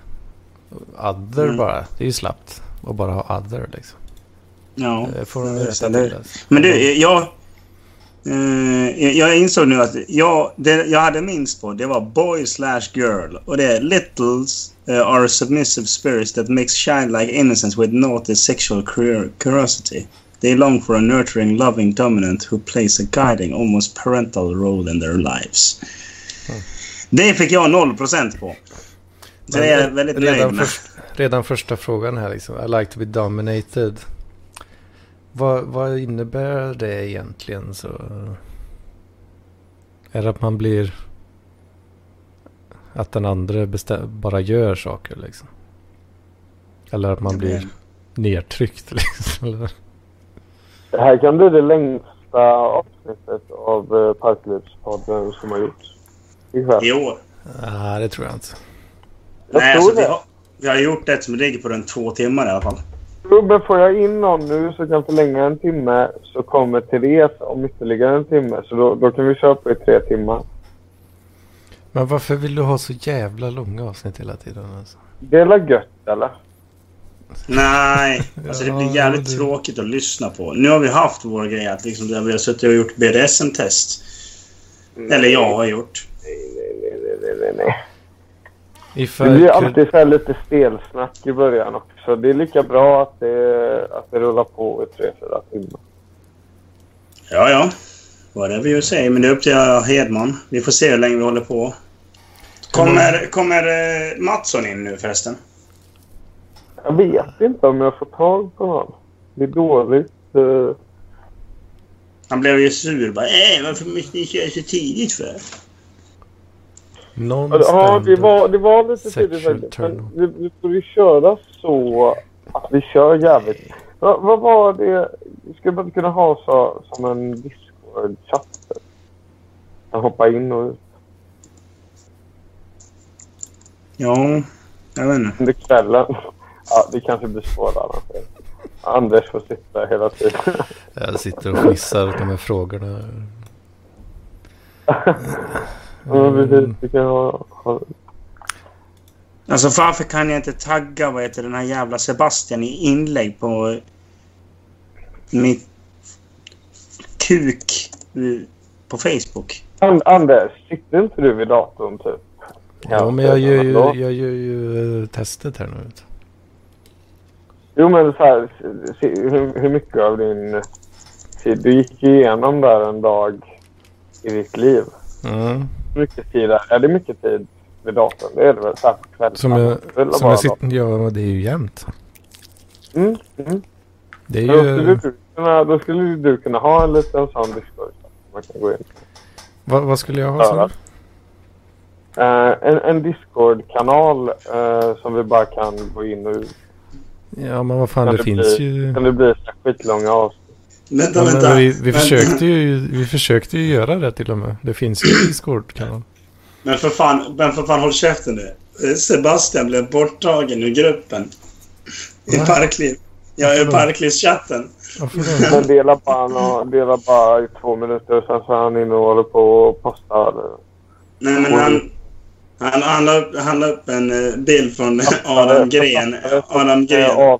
[SPEAKER 1] Other
[SPEAKER 2] Mm.
[SPEAKER 1] bara. Det är ju slappt att bara ha other liksom.
[SPEAKER 2] Ja.
[SPEAKER 1] Det får de
[SPEAKER 2] det är
[SPEAKER 1] rätta
[SPEAKER 2] sant, det är-
[SPEAKER 1] till, alltså.
[SPEAKER 2] Men du, jag... eh, jag- jag insåg nu att jag, det jag hade minst på det var boy slash girl. Och det är littles eh, are submissive spirits that mix childlike innocence with naughty sexual cur- curiosity. They long for a nurturing, loving dominant who plays a guiding, almost parental role in their lives. Mm. Det fick jag 0% på. Så det är jag väldigt nöjd
[SPEAKER 1] redan,
[SPEAKER 2] med.
[SPEAKER 1] först, redan första frågan här liksom. I like to be dominated. Vad, vad innebär det egentligen? Så, Är det att man blir... Att den andra bestä- bara gör saker liksom? Eller att man blir nedtryckt liksom? Eller?
[SPEAKER 3] Det här kan bli det längsta avsnittet av eh, Parklivspodden som har gjorts. Ikväll.
[SPEAKER 2] I år?
[SPEAKER 1] Nej, det tror jag inte.
[SPEAKER 3] Jag
[SPEAKER 2] Nej,
[SPEAKER 3] tror
[SPEAKER 2] alltså, vi,
[SPEAKER 3] det.
[SPEAKER 2] har, vi har gjort ett som ligger på runt två timmar i alla fall.
[SPEAKER 3] Rubben, får jag in någon nu så kan förlänga en timme så kommer Therese om ytterligare en timme. Så då, då kan vi köra på i tre timmar.
[SPEAKER 1] Men varför vill du ha så jävla långa avsnitt hela tiden? Alltså?
[SPEAKER 3] Det är väl gött eller?
[SPEAKER 2] Nej, alltså det blir
[SPEAKER 1] Ja,
[SPEAKER 2] jävligt
[SPEAKER 1] det-
[SPEAKER 2] tråkigt att lyssna på. Nu har vi haft vår grej att liksom, där vi har suttit och gjort BDSM-test. Eller jag har gjort.
[SPEAKER 3] Nej, nej, nej, nej, nej.
[SPEAKER 1] If I
[SPEAKER 3] Det blir
[SPEAKER 1] could-
[SPEAKER 3] alltid så här lite stelsnack i början också. Det är lika bra att det, att det rullar på i tre, fyra timmar.
[SPEAKER 2] Ja, ja. Whatever you say. Men det är upp till Hedman. Vi får se hur länge vi håller på. Kommer,
[SPEAKER 1] Mm.
[SPEAKER 2] kommer eh, Mattsson in nu förresten?
[SPEAKER 3] Jag vet inte om jag får tag på någon. Det är dåligt. eh,
[SPEAKER 2] Han blev ju sur. Bara, äh, varför måste ni köra så tidigt för?
[SPEAKER 1] någon
[SPEAKER 3] Ja, det
[SPEAKER 1] standard.
[SPEAKER 3] var, det var lite
[SPEAKER 1] Sexual
[SPEAKER 3] tidigt faktiskt. Men
[SPEAKER 1] turn-on.
[SPEAKER 3] vi, vi får ju köra så att vi kör jävligt. Vad vad var det? Skulle man kunna ha så, som en Discord-chatt? Att hoppa in och ut
[SPEAKER 2] Ja, jag vet inte.
[SPEAKER 3] under kvällen. Ja, det kanske blir svårare. Anders får sitta hela tiden.
[SPEAKER 1] Jag sitter och fnissar åt de här frågorna.
[SPEAKER 3] Ja,
[SPEAKER 1] Mm.
[SPEAKER 3] precis. Vi kan ha, ha...
[SPEAKER 2] Alltså varför kan jag inte tagga vad heter den här jävla Sebastian i inlägg på eh, mitt kuk eh, på Facebook?
[SPEAKER 3] And, Anders, sitter inte du vid datorn typ?
[SPEAKER 1] Ja, men jag gör ju, jag gör ju eh, testet här nu.
[SPEAKER 3] Jo, men så här, se- hur, hur mycket av din tid... Du gick igenom där en dag i ditt liv.
[SPEAKER 1] Mm.
[SPEAKER 3] Hur mycket tid är är det? mycket tid vid datorn? Det är det väl? Så här på kvällarna?
[SPEAKER 1] Som jag,
[SPEAKER 3] Det är väl
[SPEAKER 1] som
[SPEAKER 3] bara
[SPEAKER 1] jag sitter... Ja, men det är ju jämnt.
[SPEAKER 3] datorn. Mm, mm.
[SPEAKER 1] Det är
[SPEAKER 3] Men Då, skulle
[SPEAKER 1] ju...
[SPEAKER 3] du kunna, då skulle ju du kunna ha en liten sån discord. Man kan gå in.
[SPEAKER 1] Vad, vad skulle jag ha så?
[SPEAKER 3] Eh, en en Discord-kanal eh, som vi bara kan gå in och ut.
[SPEAKER 1] Ja, men vad fan, det finns ju...
[SPEAKER 3] Kan det bli så här skitlånga avsnitt?
[SPEAKER 2] Vänta,
[SPEAKER 1] Ja,
[SPEAKER 2] vänta.
[SPEAKER 1] men vi, vi,
[SPEAKER 2] Vänta.
[SPEAKER 1] försökte ju, vi försökte ju göra det till och med. Det finns ju en Discord-kanal.
[SPEAKER 2] Men för fan, men för fan håll käften nu. Eh, Sebastian blev borttagen ur gruppen. I
[SPEAKER 1] Va?
[SPEAKER 2] Parkliv. Ja, i
[SPEAKER 1] Varför då?
[SPEAKER 2] Parklivschatten.
[SPEAKER 1] Varför då?
[SPEAKER 3] Men delar bara, nå- delar bara i två minuter sen så är han inne och håller på och postar.
[SPEAKER 2] Nej, men han... Han, han, la upp, han la upp en eh, bild från Adam Gren. Adam Gren.
[SPEAKER 3] Eh, Ja,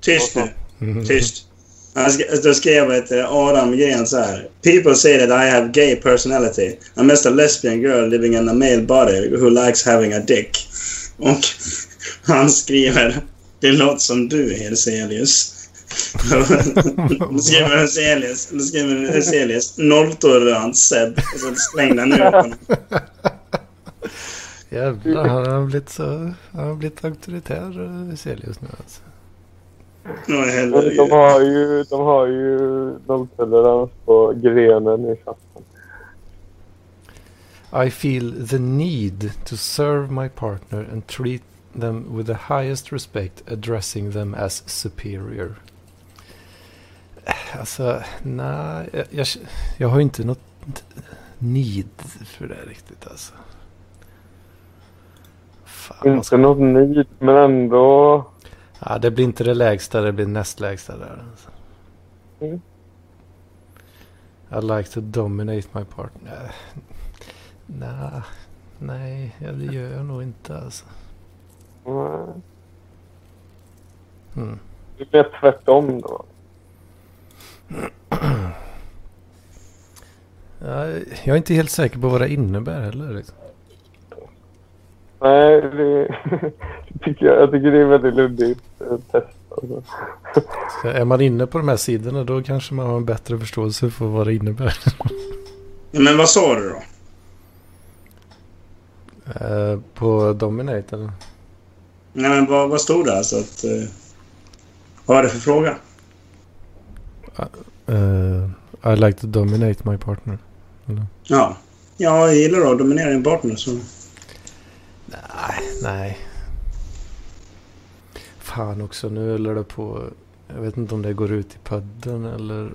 [SPEAKER 2] Tyst nu.
[SPEAKER 1] Mhm.
[SPEAKER 2] Tyst. Han sk då skrev ett eh, Adam Gren så här. People say that I have gay personality. I'm just a lesbian girl living in a male body who likes having a dick. Och han skriver. Det låter som du, Helselius. Då skriver Helselius, då skriver Helselius nolltolerans Seb. Och så slängde han ut honom.
[SPEAKER 1] Jävlar, han har blivit så... Han har blivit auktoritär, eh, Hyselius nu alltså.
[SPEAKER 2] Åh,
[SPEAKER 3] men de
[SPEAKER 2] helvete.
[SPEAKER 3] har ju, de har ju nolltolerans på grenen i chatten.
[SPEAKER 1] I feel the need to serve my partner and treat them with the highest respect, addressing them as superior. Alltså, nej, jag, jag, jag har ju inte något need för det riktigt alltså. Fan, vad
[SPEAKER 3] Inte
[SPEAKER 1] ska,
[SPEAKER 3] något nit, men ändå...
[SPEAKER 1] ja, det blir inte det lägsta, det blir näst lägsta där. Alltså.
[SPEAKER 3] Mm.
[SPEAKER 1] I like to dominate my partner. Nej, nej, ja, det gör jag nog inte alltså.
[SPEAKER 3] eh,
[SPEAKER 1] Mm.
[SPEAKER 3] Det blir tvärtom då.
[SPEAKER 1] Ja, jag är inte helt säker på vad det innebär heller. Liksom.
[SPEAKER 3] Nej, det tycker jag, jag tycker det är väldigt luddigt eh, test. Alltså.
[SPEAKER 1] Så är man inne på de här sidorna då kanske man har en bättre förståelse för vad det innebär.
[SPEAKER 2] Men vad sa du då?
[SPEAKER 1] Eh, på Dominate eller?
[SPEAKER 2] Nej, men vad, vad stod det alltså? Att, eh, vad var det för fråga?
[SPEAKER 1] Äh, Eh, I like to dominate my partner.
[SPEAKER 2] Ja. Ja, jag gillar att dominera din partner. Så.
[SPEAKER 1] Nej, nej. Fan också, nu håller det på. Jag vet inte om det går ut i podden eller...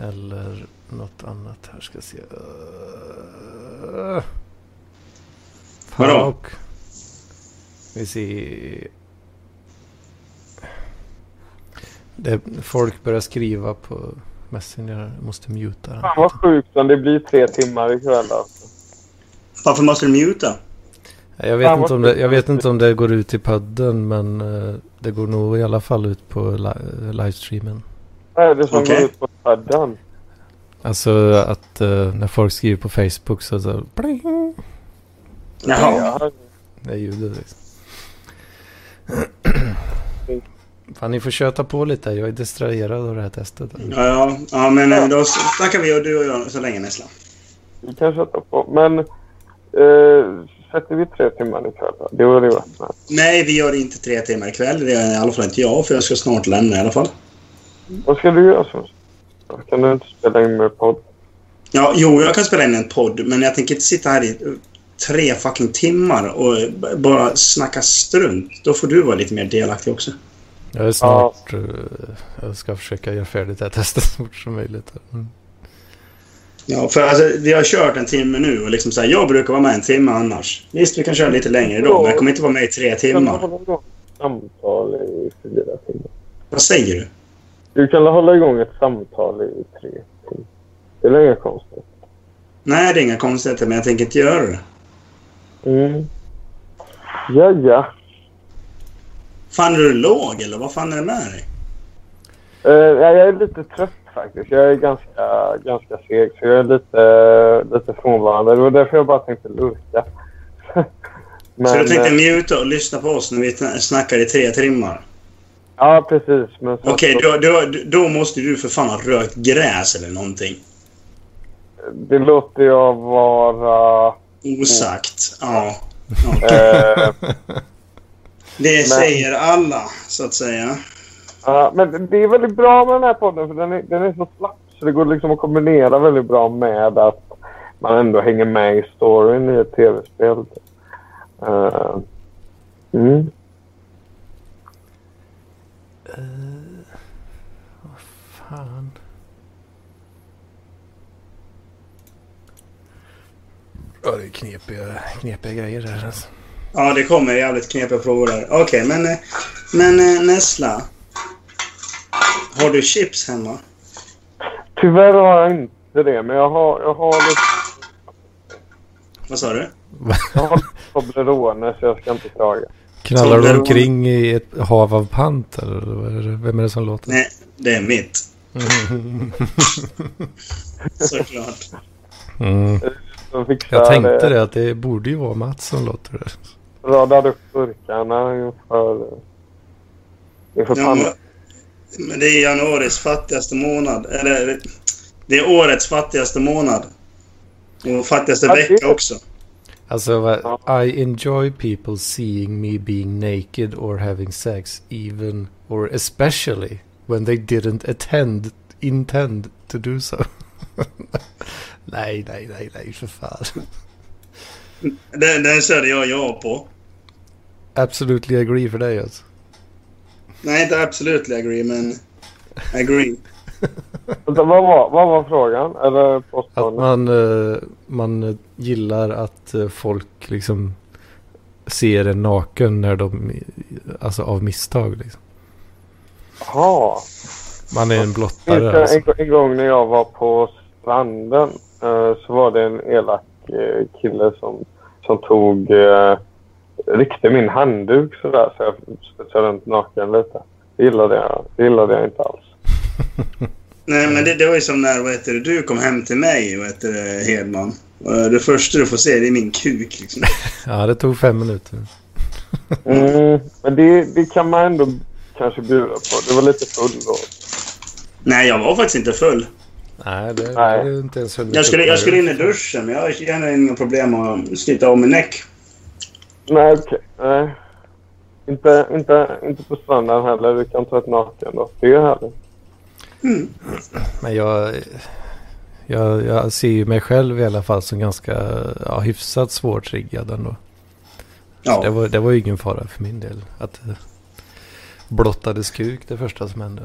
[SPEAKER 1] Eller något annat här ska jag se. Uh, fan
[SPEAKER 2] Vadå?
[SPEAKER 1] och... Vi ser... Det, folk börjar skriva på Messenger. Jag måste muta den.
[SPEAKER 3] Fan vad sjukt om det blir tre timmar ikväll alltså.
[SPEAKER 2] Varför måste du muta?
[SPEAKER 1] Jag vet,
[SPEAKER 3] Fan,
[SPEAKER 1] inte
[SPEAKER 3] vad
[SPEAKER 1] om det,
[SPEAKER 3] sjukt.
[SPEAKER 1] jag vet inte om det går ut i podden men eh, det går nog i alla fall ut på li- eh, livestreamen.
[SPEAKER 3] Vad är det som
[SPEAKER 2] Okej.
[SPEAKER 3] går ut på paddan?
[SPEAKER 1] Alltså att eh, när folk skriver på Facebook så, så pling,
[SPEAKER 2] Jaha.
[SPEAKER 1] det är ljudet liksom. Fan ni får köta på lite, jag är distraherad av det här testet.
[SPEAKER 2] Ja, ja, ja men eh, då snackar vi och du och jag så länge nästan.
[SPEAKER 3] Vi kan sätta på. Men eh, sätter vi tre timmar ikväll då? Det vore ju varit med.
[SPEAKER 2] Nej, vi gör inte tre timmar ikväll. Det är i alla fall inte jag, för jag ska snart lämna i alla fall.
[SPEAKER 3] Vad ska du göra sen? Kan du inte spela in med podd?
[SPEAKER 2] Ja, jo, jag kan spela in en podd, men jag tänker inte sitta här i eh, tre fucking timmar och eh, b- bara snacka strunt. Då får du vara lite mer delaktig också.
[SPEAKER 1] Jag är snart, eh, jag ska försöka göra färdigt det här testet så fort som möjligt. Mm.
[SPEAKER 2] Ja, för alltså, vi har kört en timme nu och liksom så här, jag brukar vara med en timme annars. Visst, vi kan köra lite längre då, men jag kommer inte vara med i tre
[SPEAKER 3] Kan du
[SPEAKER 2] timmar.
[SPEAKER 3] hålla igång ett samtal i fyra timmar?
[SPEAKER 2] Vad säger du?
[SPEAKER 3] Du kan hålla igång ett samtal i tre timmar. Det är inga konstigt.
[SPEAKER 2] Nej, det är inga konstigheter, men jag tänker inte göra det.
[SPEAKER 3] Mm. Ja, ja.
[SPEAKER 2] Fan, är du låg eller vad fan är det med dig?
[SPEAKER 3] Eh, ja, jag är lite trött faktiskt. Jag är ganska, ganska seg, så jag är lite, lite frånvarande. Det var därför jag bara tänkte lurka. Men,
[SPEAKER 2] Så du tänkte
[SPEAKER 3] eh,
[SPEAKER 2] muta och lyssna på oss när vi t- snackar i tre timmar?
[SPEAKER 3] Ja, precis. Men så-
[SPEAKER 2] Okej, då, då, då måste du för fan ha rökt gräs eller någonting.
[SPEAKER 3] Det låter jag vara...
[SPEAKER 2] Osagt. Ja. ja.
[SPEAKER 3] Eh,
[SPEAKER 2] Det säger alla, så att säga.
[SPEAKER 3] ja, men det är väldigt bra med den här podden, för den är, den är så slapp. Så det går liksom att kombinera väldigt bra med att man ändå hänger med i storyn i ett tv-spel. Eh, mm.
[SPEAKER 1] Fan. Ja, det är knepiga, knepiga grejer här alltså.
[SPEAKER 2] Ja, det kommer jävligt knepiga frågor där. Okej, men, eh, men eh, Nessla. Har du chips hemma?
[SPEAKER 3] Tyvärr har jag inte det, men jag har, jag har lite
[SPEAKER 2] Vad sa du?
[SPEAKER 3] Jag har Toblerone så jag ska inte klaga.
[SPEAKER 1] Knallar
[SPEAKER 2] Som
[SPEAKER 1] du
[SPEAKER 2] den-
[SPEAKER 1] omkring i ett hav av pant eller vad är det? vem är det som låter?
[SPEAKER 2] Nej, det är mitt. Såklart.
[SPEAKER 1] Mm.
[SPEAKER 3] De fixar,
[SPEAKER 1] Jag tänkte
[SPEAKER 3] eh,
[SPEAKER 1] det att det borde ju vara Mats som låter det.
[SPEAKER 3] Radar upp burkarna inför, eh, inför
[SPEAKER 2] Ja,
[SPEAKER 3] pannan.
[SPEAKER 2] men- men det är januaris fattigaste månad. Eller, det är årets fattigaste månad. Och fattigaste
[SPEAKER 3] Ja, det-
[SPEAKER 2] vecka också.
[SPEAKER 1] Alltså
[SPEAKER 3] Ja.
[SPEAKER 1] vad- I enjoy people seeing me being naked or having sex even or especially when they didn't attend intend to do so. nej, nej, nej, nej för fan.
[SPEAKER 2] Den, den körde jag ja på.
[SPEAKER 1] Absolutely agree för dig alltså.
[SPEAKER 2] Nej, inte absolut agree, men agree.
[SPEAKER 3] Vänta, Vad var, vad var frågan? Eller
[SPEAKER 1] Att
[SPEAKER 3] påståendet?
[SPEAKER 1] man, eh, man eh, gillar att eh, folk liksom ser en naken när de, alltså av misstag liksom.
[SPEAKER 3] Jaha.
[SPEAKER 1] Man är en
[SPEAKER 3] Minns
[SPEAKER 1] blottare
[SPEAKER 3] jag
[SPEAKER 1] alltså.
[SPEAKER 3] en, gång- en gång när jag var på stranden eh, så var det en elak eh, kille som, som tog eh, ryckte min handduk sådär så jag studsade runt naken lite. Det gillade jag, det gillade jag inte alls.
[SPEAKER 2] Nej, men det, det var ju som när vad heter det, du kom hem till mig, vad heter det, Hedman. Och Det första du får se det är min kuk. Liksom.
[SPEAKER 1] Ja, det tog fem minuter.
[SPEAKER 3] Mm, men det, det kan man ändå kanske bjuda på. Det var lite full då.
[SPEAKER 2] Nej, jag var faktiskt inte full.
[SPEAKER 1] Nej, det, det
[SPEAKER 3] Nej.
[SPEAKER 1] är inte ens hunnit
[SPEAKER 2] Jag skulle,
[SPEAKER 1] upp där.
[SPEAKER 2] jag skulle in i duschen, men jag har gärna inga problem att slita av min näck.
[SPEAKER 3] Nej, okej. Nej. Inte, inte, inte på stranden heller. Du kan ta ett naken då. Det är ju härligt.
[SPEAKER 1] Men jag, Jag, jag ser ju mig själv i alla fall som ganska ja, hyfsat svårtriggad ändå. Så Det,
[SPEAKER 2] Ja,
[SPEAKER 1] var, det var ju ingen fara för min del. Att eh, blottades kuk det första som hände.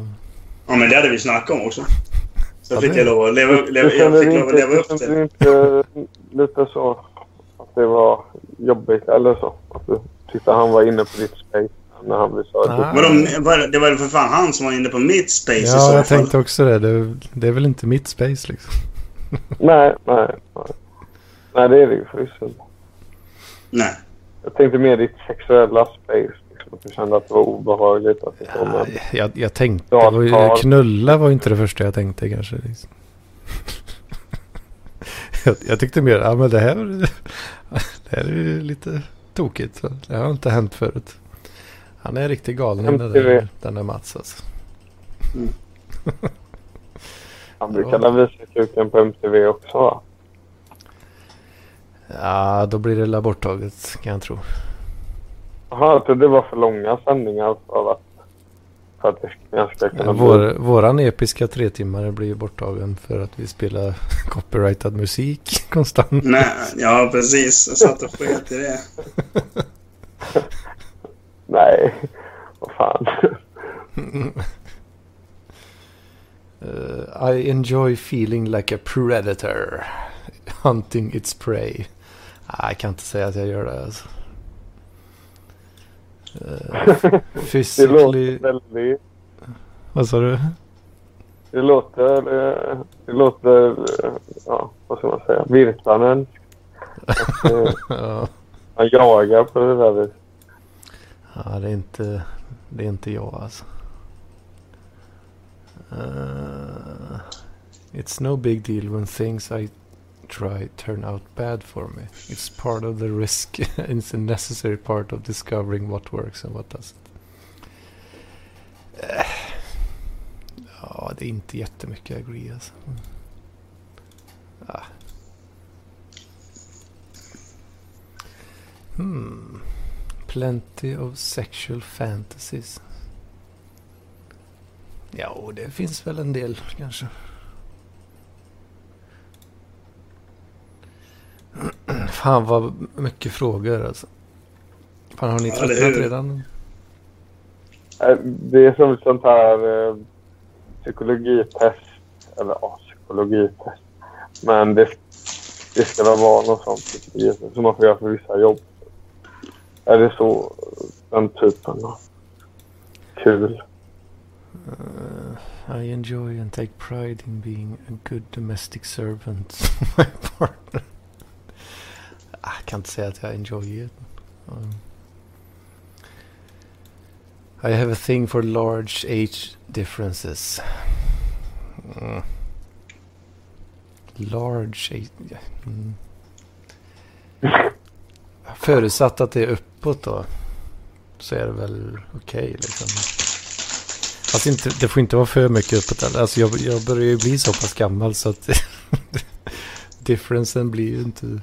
[SPEAKER 2] ja men det hade vi snackat om också. Så
[SPEAKER 1] Ja,
[SPEAKER 2] fick
[SPEAKER 1] det-
[SPEAKER 2] jag lov att leva, upp- leva,
[SPEAKER 3] Du
[SPEAKER 2] jag
[SPEAKER 3] känner
[SPEAKER 2] fick lov att leva
[SPEAKER 3] inte,
[SPEAKER 2] upp till
[SPEAKER 3] känner
[SPEAKER 2] det.
[SPEAKER 3] du inte lite så att det var jobbigt eller så? Att du tyckte han var inne på ditt space när han blev
[SPEAKER 1] Nej.
[SPEAKER 3] sördig?
[SPEAKER 2] Vadå, var- det var väl för fan han som var inne på mitt space i
[SPEAKER 1] Ja,
[SPEAKER 2] så
[SPEAKER 1] jag
[SPEAKER 2] fall.
[SPEAKER 1] tänkte också det. det. Det är väl inte mitt space liksom.
[SPEAKER 3] Nej, nej, nej. Nej, det är det ju förvisso inte.
[SPEAKER 2] Nej.
[SPEAKER 3] Jag tänkte mer ditt sexuella space. Liksom. Du kände att det var obehagligt att det kom en...
[SPEAKER 1] Jag, jag tänkte,
[SPEAKER 3] Ja,
[SPEAKER 1] det var ju-
[SPEAKER 3] ja.
[SPEAKER 1] knulla var ju inte det första jag tänkte kanske. Liksom. jag, jag tyckte mer, ja men det här, det här är ju lite tokigt. va? Det har inte hänt förut. Han är riktigt galen den där,
[SPEAKER 3] MTV.
[SPEAKER 1] den där Mats alltså.
[SPEAKER 3] Han brukade visa kuken på MTV också va?
[SPEAKER 1] Ja, då blir det la borttaget kan jag tro.
[SPEAKER 3] Jaha, jag trodde det var för långa sändningar för att, för att det ganska kunna bli...
[SPEAKER 1] Vår, våran episka tre timmar blir ju borttagen för att vi spelar copyrightad musik konstant.
[SPEAKER 2] Nej, ja precis. Jag satt och sket i det.
[SPEAKER 3] Nej, vad fan.
[SPEAKER 1] Uh, Eh, I enjoy feeling like a predator. Hunting its prey. Ah, jag kan inte säga att jag gör det alltså. Eh,
[SPEAKER 3] Det låter
[SPEAKER 1] physically...
[SPEAKER 3] väldigt...
[SPEAKER 1] Vad sa du?
[SPEAKER 3] Det låter... eh, Det låter... eh, Ja, vad ska man säga? Virtanen. Att, eh,
[SPEAKER 1] ja,
[SPEAKER 3] Man jagar på det där viset.
[SPEAKER 1] Ja, det är inte... Det är inte jag alltså. Eh, it's no big deal when things I try turn out bad for me. It's part of the risk. it's a necessary part of discovering what works and what doesn't. Eh, Ja, det är inte jättemycket agree alltså. Ah. Hmm. Plenty of sexual fantasies. Ja, och det finns väl en del kanske. Fan vad mycket frågor alltså. Fan har ni
[SPEAKER 2] Ja, eller
[SPEAKER 1] tröttnat
[SPEAKER 2] hur?
[SPEAKER 1] redan?
[SPEAKER 3] Eh, Det är som ett sånt här eh, psykologitest. Eller ja, psykologitest. Men det, det ska väl vara något sånt psykologitest som man får göra för vissa jobb. Är det så? Den typen av... Kul.
[SPEAKER 1] Uh, I enjoy and take pride in being a good domestic servant to my partner. Ah, Jag kan inte säga att jag enjoy it. Um, I have a thing for large age differences. Mm. Large age... ja, Mm. Förutsatt att det är uppåt då. Så är det väl okej liksom. Alltså inte, det får inte vara för mycket uppåt heller. Alltså jag, jag börjar ju bli så pass gammal så att differensen blir ju inte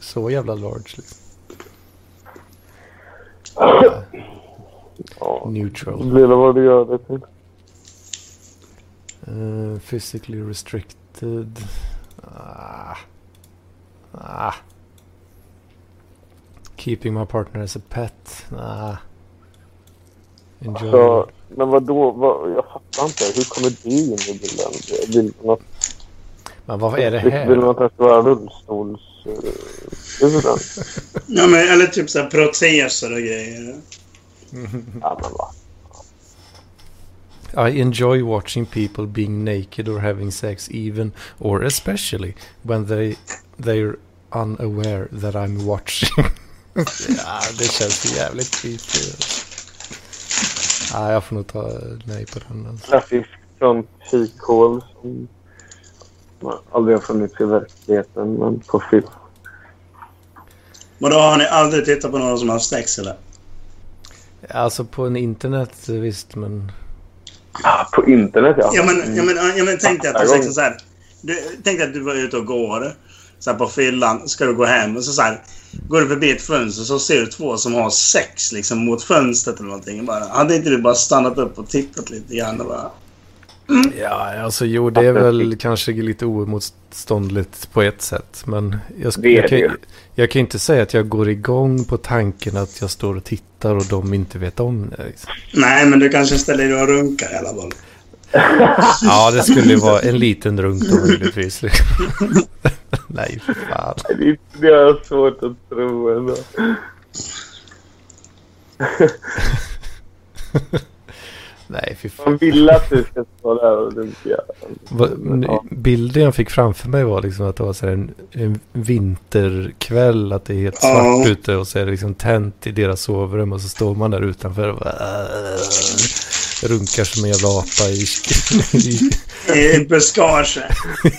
[SPEAKER 1] så jävla large. Liksom.
[SPEAKER 3] Ja.
[SPEAKER 1] Neutral.
[SPEAKER 3] Det blir det vad du gör det till. Mm.
[SPEAKER 1] Eh, physically restricted. Ah. Ah. Keeping my partner as a pet. Ah. Enjoy.
[SPEAKER 3] Så, Alltså, men vadå? Vad, jag fattar inte. Hur kommer det in i bilden? Vill man att,
[SPEAKER 1] Men vad är det
[SPEAKER 3] vill man
[SPEAKER 1] här?
[SPEAKER 3] att det ska vara rullstols... eh, huvuden?
[SPEAKER 2] Ja, men, eller typ så här proteser och grejer.
[SPEAKER 3] ja, men va.
[SPEAKER 1] I enjoy watching people being naked or having sex even or especially when they they're unaware that I'm watching. ja, det känns ju jävligt skit. Ja, jag får nog ta nej på den. Alltså.
[SPEAKER 3] Klassiskt sånt kikhål som man aldrig har funnits i verkligheten, men på film.
[SPEAKER 2] Men då har ni aldrig tittat på någon som har haft sex eller?
[SPEAKER 1] Alltså på en internet eh, visst men...
[SPEAKER 3] Ah, på internet, ja.
[SPEAKER 2] Ja, men, ja, men, ja, men tänk dig att du,
[SPEAKER 3] Varje
[SPEAKER 2] liksom, så här, du, tänk dig att du var ute och går så här, på fyllan. ska du gå hem och så, så här, går du förbi ett fönster så ser du två som har sex liksom, mot fönstret eller någonting. Bara, hade inte du bara stannat upp och tittat lite grann och bara...
[SPEAKER 1] Ja, alltså jo, det är väl kanske lite oemotståndligt på ett sätt. Men jag, sk-
[SPEAKER 5] Det är
[SPEAKER 1] jag, kan,
[SPEAKER 5] det ju.
[SPEAKER 1] jag kan inte säga att jag går igång på tanken att jag står och tittar och de inte vet om det. Liksom.
[SPEAKER 2] Nej, men du kanske ställer dig och runkar i alla fall.
[SPEAKER 1] Ja, det skulle ju vara en liten runk då möjligtvis. Liksom. Nej, för fan.
[SPEAKER 3] Det- Mm. Det har jag svårt att tro ändå.
[SPEAKER 1] Nej, fy fan.
[SPEAKER 3] Man vill att du ska stå där och dunka.
[SPEAKER 1] Vad- men
[SPEAKER 3] Ja.
[SPEAKER 1] Bilden jag fick framför mig var liksom att det var så här en, en vinterkväll, att det är helt
[SPEAKER 2] Ja.
[SPEAKER 1] svart ute och så är det liksom tänt i deras sovrum och så står man där utanför och bara, äh, runkar som en jävla apa i, i,
[SPEAKER 2] I ett buskage.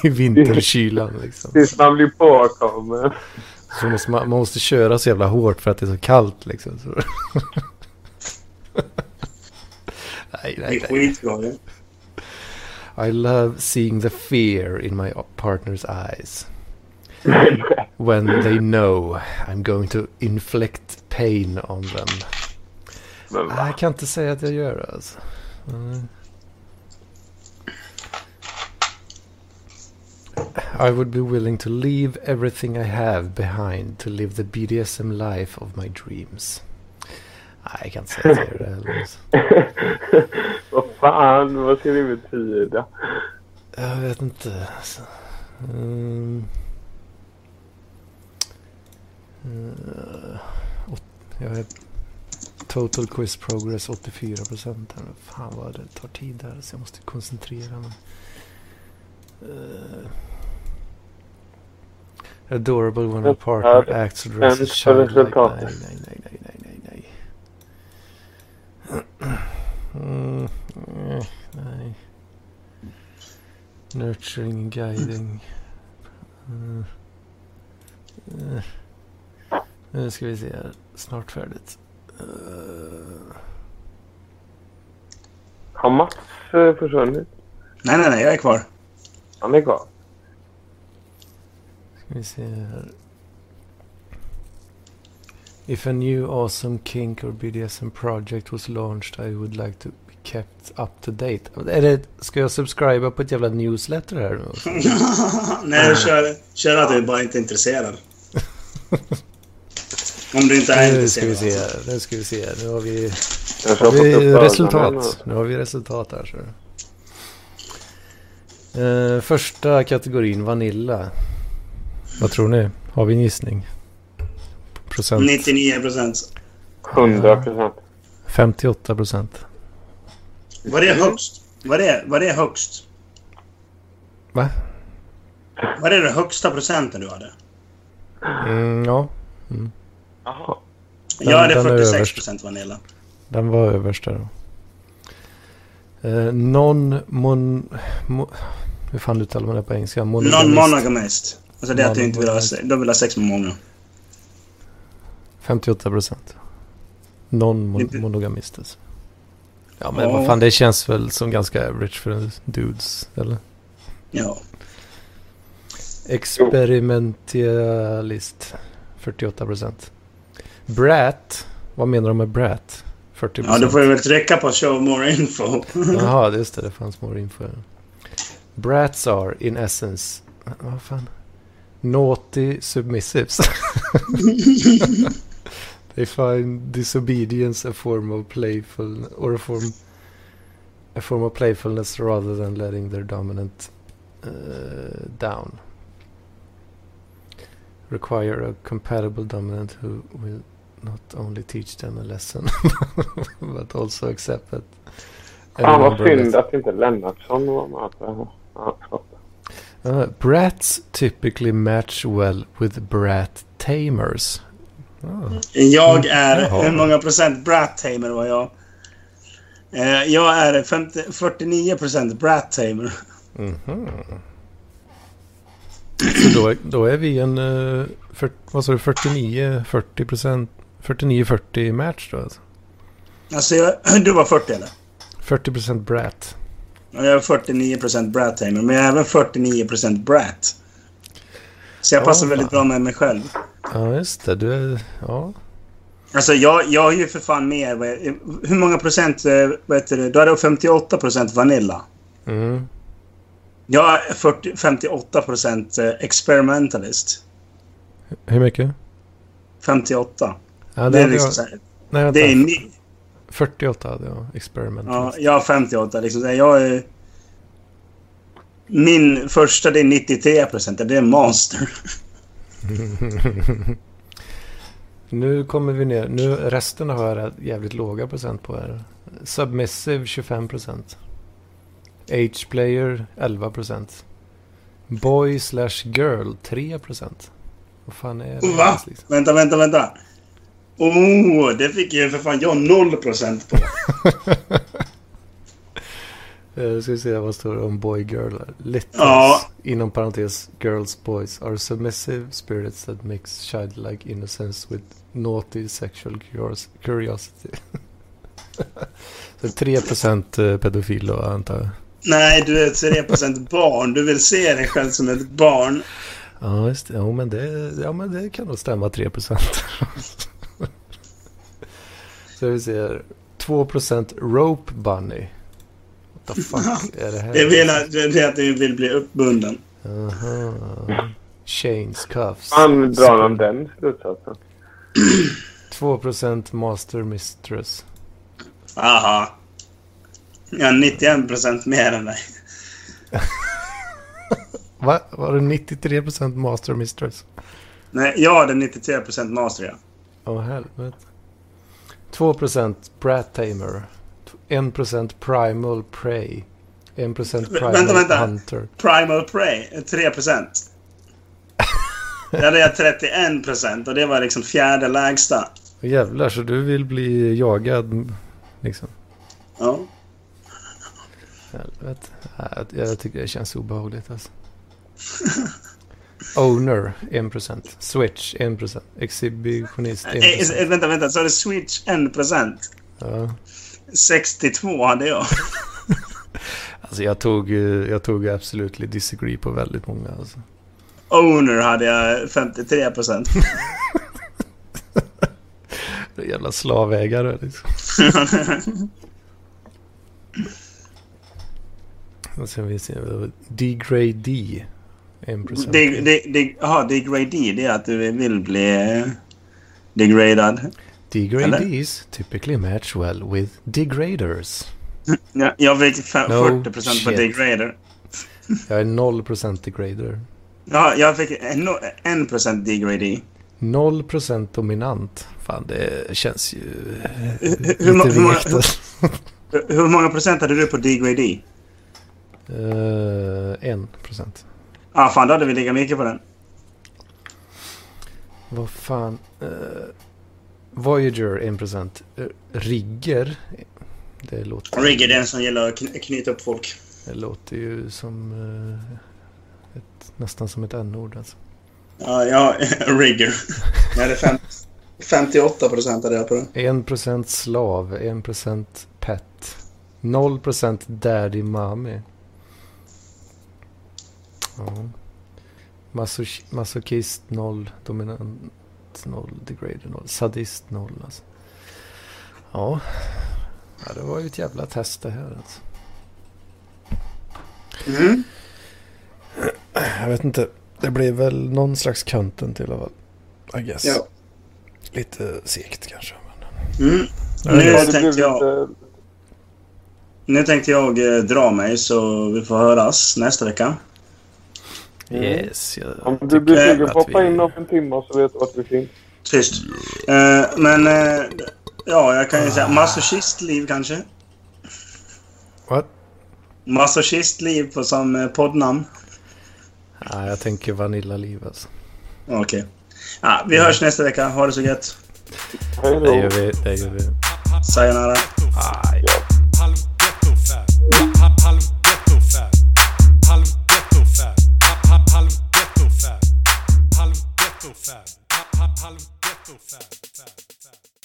[SPEAKER 1] i vinterkylan. Liksom.
[SPEAKER 3] Tills man blir påkommen.
[SPEAKER 1] Så måste man, man måste köra så jävla hårt för att det är så kallt. Liksom. Så. nej, nej,
[SPEAKER 2] Det är
[SPEAKER 1] nej.
[SPEAKER 2] skitbra ju.
[SPEAKER 1] I love seeing the fear in my partner's eyes. when they know I'm going to inflict pain on them.
[SPEAKER 3] Men
[SPEAKER 1] Nej,
[SPEAKER 3] va?
[SPEAKER 1] jag kan inte säga att jag gör det alltså. Mm. I would be willing to leave everything I have behind to live the BDSM life of my dreams. Nej, jag kan inte säga att jag gör det heller. Alltså.
[SPEAKER 3] Vad fan, vad ska det betyda?
[SPEAKER 1] Jag vet inte. Alltså. Mm. Eh, åt- Jag vet. Total quiz progress 84 procent. Fan vad det tar tid här så jag måste koncentrera mig. Eh, adorable when a partner acts or dresses
[SPEAKER 3] Vänta,
[SPEAKER 1] child like...
[SPEAKER 3] resultatet.
[SPEAKER 1] Nej, nej, nej, nej, nej, nej, nej. Mm, eh, nej. Nurturing and guiding. Mm. Eh. Nu uh, ska vi se här. Snart färdigt. Eh,
[SPEAKER 3] Har Mats eh, försvunnit?
[SPEAKER 2] Nej, nej, nej, jag är kvar.
[SPEAKER 3] Han är kvar.
[SPEAKER 1] ska vi se här. If a new awesome kink or BDSM project was launched I would like to be kept up to date. Men Är det, ska jag subscriba på ett jävla newsletter här nu? också?
[SPEAKER 2] nej, kör, kör att du bara inte är intresserad. Om du inte är
[SPEAKER 1] Nu ska vi
[SPEAKER 2] intresserad.
[SPEAKER 1] se här. Nu ska vi se här. Nu har vi...
[SPEAKER 3] Jag
[SPEAKER 1] Nu
[SPEAKER 3] har
[SPEAKER 1] har
[SPEAKER 3] fått upp
[SPEAKER 1] vi
[SPEAKER 3] ögonen.
[SPEAKER 1] resultat. Nu har vi resultat här. Så. Eh, första kategorin, Vanilla. Vad tror ni? Har vi en gissning? Procent?
[SPEAKER 2] 99 procent.
[SPEAKER 3] 100 procent.
[SPEAKER 1] 58 procent.
[SPEAKER 2] Var det högst? Var det, var det högst?
[SPEAKER 1] Va?
[SPEAKER 2] Var det den högsta procenten du hade?
[SPEAKER 1] Mm, ja,
[SPEAKER 3] Jaha.
[SPEAKER 2] Jag hade
[SPEAKER 1] den är
[SPEAKER 2] 46
[SPEAKER 1] överst.
[SPEAKER 2] procent vanilla.
[SPEAKER 1] den var överst där. då. Eh, non mon... Mo, hur fan uttalar man det på engelska? Monogamist.
[SPEAKER 2] Non-monogamist. Alltså det är att du inte vill ha, se- de vill ha sex med många.
[SPEAKER 1] 58 procent.
[SPEAKER 2] Inte-
[SPEAKER 1] Non-monogamist alltså. Ja men
[SPEAKER 2] Ja.
[SPEAKER 1] vad fan det känns väl som ganska average för en dudes eller?
[SPEAKER 2] Ja.
[SPEAKER 1] Experimentalist 48 procent. Brat. Vad menar de med brat? 40
[SPEAKER 2] ja, då får vi väl trycka på show more info.
[SPEAKER 1] Jaha, just det. Det fanns more info. Brats are in essence... Vad fan? Naughty submissives. They find disobedience a form of playful... Or a form... A form of playfulness rather than letting their dominant eh, down. Require a compatible dominant who will not only teach them a lesson but also accept that
[SPEAKER 3] Fan vad
[SPEAKER 1] everyone relates-
[SPEAKER 3] synd att inte Lennartsson var med på det här. Ja, förlåt.
[SPEAKER 1] Uh, brats typically match well with brat tamers. Ah,
[SPEAKER 2] Jag är...
[SPEAKER 1] Jaha.
[SPEAKER 2] Hur många procent brat-tamer var jag? Eh, jag är 50, 49 procent brat-tamer.
[SPEAKER 1] mhm. Så då, är- då är vi en eh, fyrt- vad sa du, 49-40 procent. 49-40 match då alltså.
[SPEAKER 2] Alltså, jag, du var 40 eller?
[SPEAKER 1] 40 procent brat.
[SPEAKER 2] Och jag är 49 procent brat-tamer, men jag är även 49 procent brat. Så jag
[SPEAKER 1] Ja,
[SPEAKER 2] passar
[SPEAKER 1] fan.
[SPEAKER 2] väldigt bra med mig själv.
[SPEAKER 1] Ja just det, du är... Ja.
[SPEAKER 2] Alltså jag, jag är ju för fan mer... vad jag- Hur många procent... eh, Vad heter det? Du hade 58 procent vanilla.
[SPEAKER 1] Mm.
[SPEAKER 2] Jag är 40, 58 procent eh, experimentalist.
[SPEAKER 1] Hur mycket?
[SPEAKER 2] 58.
[SPEAKER 1] Ja,
[SPEAKER 2] Det är
[SPEAKER 1] hade
[SPEAKER 2] liksom
[SPEAKER 1] jag,
[SPEAKER 2] så här,
[SPEAKER 1] nej, vänta.
[SPEAKER 2] det är ni,
[SPEAKER 1] 48 hade jag. Experimental.
[SPEAKER 2] ja, jag har 58 liksom. Så här, Jag är... Min första det är 93 procent. Det är monster.
[SPEAKER 1] Nu kommer vi ner. Nu, resten har jag jävligt låga procent på här. Submissive 25 procent. H-player 11 procent. Boy slash girl 3 procent. Vad fan är det?
[SPEAKER 2] Va?
[SPEAKER 1] ens, liksom?
[SPEAKER 2] Vänta, vänta, vänta. Oh, det fick ju för fan jag 0 procent på.
[SPEAKER 1] Eh, ska vi se vad står det om boy girl här. Littles,
[SPEAKER 2] Ja.
[SPEAKER 1] inom parentes, girls boys are submissive spirits that mix childlike innocence with naughty sexual curios- curiosity. Så 3% pedofil då antar jag.
[SPEAKER 2] Nej, du är 3 procent barn. Du vill se dig själv som ett barn.
[SPEAKER 1] Ja, just det. Jo, men det, ja, men det kan nog stämma 3 Så vi ser 2 rope bunny. What the fuck är det här?
[SPEAKER 2] Det vill att- det är att du vill bli uppbunden.
[SPEAKER 1] Aha. Chains, cuffs.
[SPEAKER 3] Han drar han den slutsatsen.
[SPEAKER 1] 2 master mistress.
[SPEAKER 2] Aha. Jag har 91 procent mer än dig.
[SPEAKER 1] Va? Var det 93 master mistress?
[SPEAKER 2] Nej, jag hade 93 procent master, ja.
[SPEAKER 1] Åh, helvete. 2 brat tamer. 1 primal prey. 1 primal
[SPEAKER 2] vänta, vänta.
[SPEAKER 1] hunter.
[SPEAKER 2] Primal Prey, är 3 procent. Där hade jag 31 procent och det var liksom fjärde lägsta.
[SPEAKER 1] Åh, Jävlar, så du vill bli jagad liksom?
[SPEAKER 2] Ja.
[SPEAKER 1] Helvete. Nej, Jag, jag tycker det känns obehagligt alltså. Owner 1%. Switch 1%. Exhibitionist
[SPEAKER 2] Eh,
[SPEAKER 1] 1%.
[SPEAKER 2] eh, vänta, vänta. Så är det Switch 1 procent.
[SPEAKER 1] Ja.
[SPEAKER 2] 62 hade jag.
[SPEAKER 1] Alltså jag tog, eh, jag tog absolutely disagree på väldigt många alltså.
[SPEAKER 2] Owner hade jag 53 procent.
[SPEAKER 1] Det är Jävla slavägare liksom. Och sen vi ser Degrade D 1%.
[SPEAKER 2] Jaha, degrade, det är att du vill bli eh, degradad.
[SPEAKER 1] Degradees typically match well with degraders.
[SPEAKER 2] Ja, Jag fick fe-
[SPEAKER 1] No
[SPEAKER 2] 40 procent på
[SPEAKER 1] shit.
[SPEAKER 2] degrader.
[SPEAKER 1] Jag är 0% degrader.
[SPEAKER 2] Ja, jag fick en- no- 1 procent degradee.
[SPEAKER 1] 0% dominant. Fan, det känns ju
[SPEAKER 2] Hur,
[SPEAKER 1] lite
[SPEAKER 2] hur, hur, många-
[SPEAKER 1] vekt. alltså.
[SPEAKER 2] hur, hur många procent hade du på degradee?
[SPEAKER 1] Eh, 1%.
[SPEAKER 2] Ja, ah, fan då hade vi lika mycket på den.
[SPEAKER 1] Vad fan. eh, Voyager 1%. Uh, rigger. Det låter,
[SPEAKER 2] Rigg är den som gillar att kn- knyta upp folk.
[SPEAKER 1] det låter ju som eh, ett, nästan som ett n-ord alltså.
[SPEAKER 2] Ja, ja rigger. Jag hade fem, 58 procent hade jag på den.
[SPEAKER 1] 1% slav, 1% pet, 0% daddy mommy. Ja. Masoch- masochist 0, dominant 0, degrader 0, sadist 0 alltså. Ja. ja, det var ju ett jävla test det här alltså.
[SPEAKER 2] Mm.
[SPEAKER 1] Jag vet inte, det blev väl någon slags kanten till av I guess.
[SPEAKER 2] Ja.
[SPEAKER 1] Lite segt kanske.
[SPEAKER 2] Mm.
[SPEAKER 3] Ja,
[SPEAKER 2] Nu
[SPEAKER 3] det blev
[SPEAKER 2] tänkte jag...
[SPEAKER 3] lite-
[SPEAKER 2] Nu tänkte jag eh, dra mig så vi får höras nästa vecka.
[SPEAKER 1] Yes,
[SPEAKER 3] Om
[SPEAKER 1] jag
[SPEAKER 3] du blir
[SPEAKER 2] tycker
[SPEAKER 3] sugen
[SPEAKER 1] att
[SPEAKER 3] på att hoppa
[SPEAKER 1] vi-
[SPEAKER 3] in om en timme så vet du att vi finns.
[SPEAKER 2] Tyst. Eh, men eh, ja, jag kan ju säga masochistliv kanske.
[SPEAKER 1] What?
[SPEAKER 2] Masochistliv på- som eh, poddnamn.
[SPEAKER 1] Nej, jag tänker Vanilla Liv alltså.
[SPEAKER 2] Okej. Ja, vi hörs nästa vecka. Ha det så gött.
[SPEAKER 3] Hej
[SPEAKER 1] Det
[SPEAKER 3] då.
[SPEAKER 1] gör vi, det gör vi.
[SPEAKER 2] Sayonara.
[SPEAKER 3] Ja.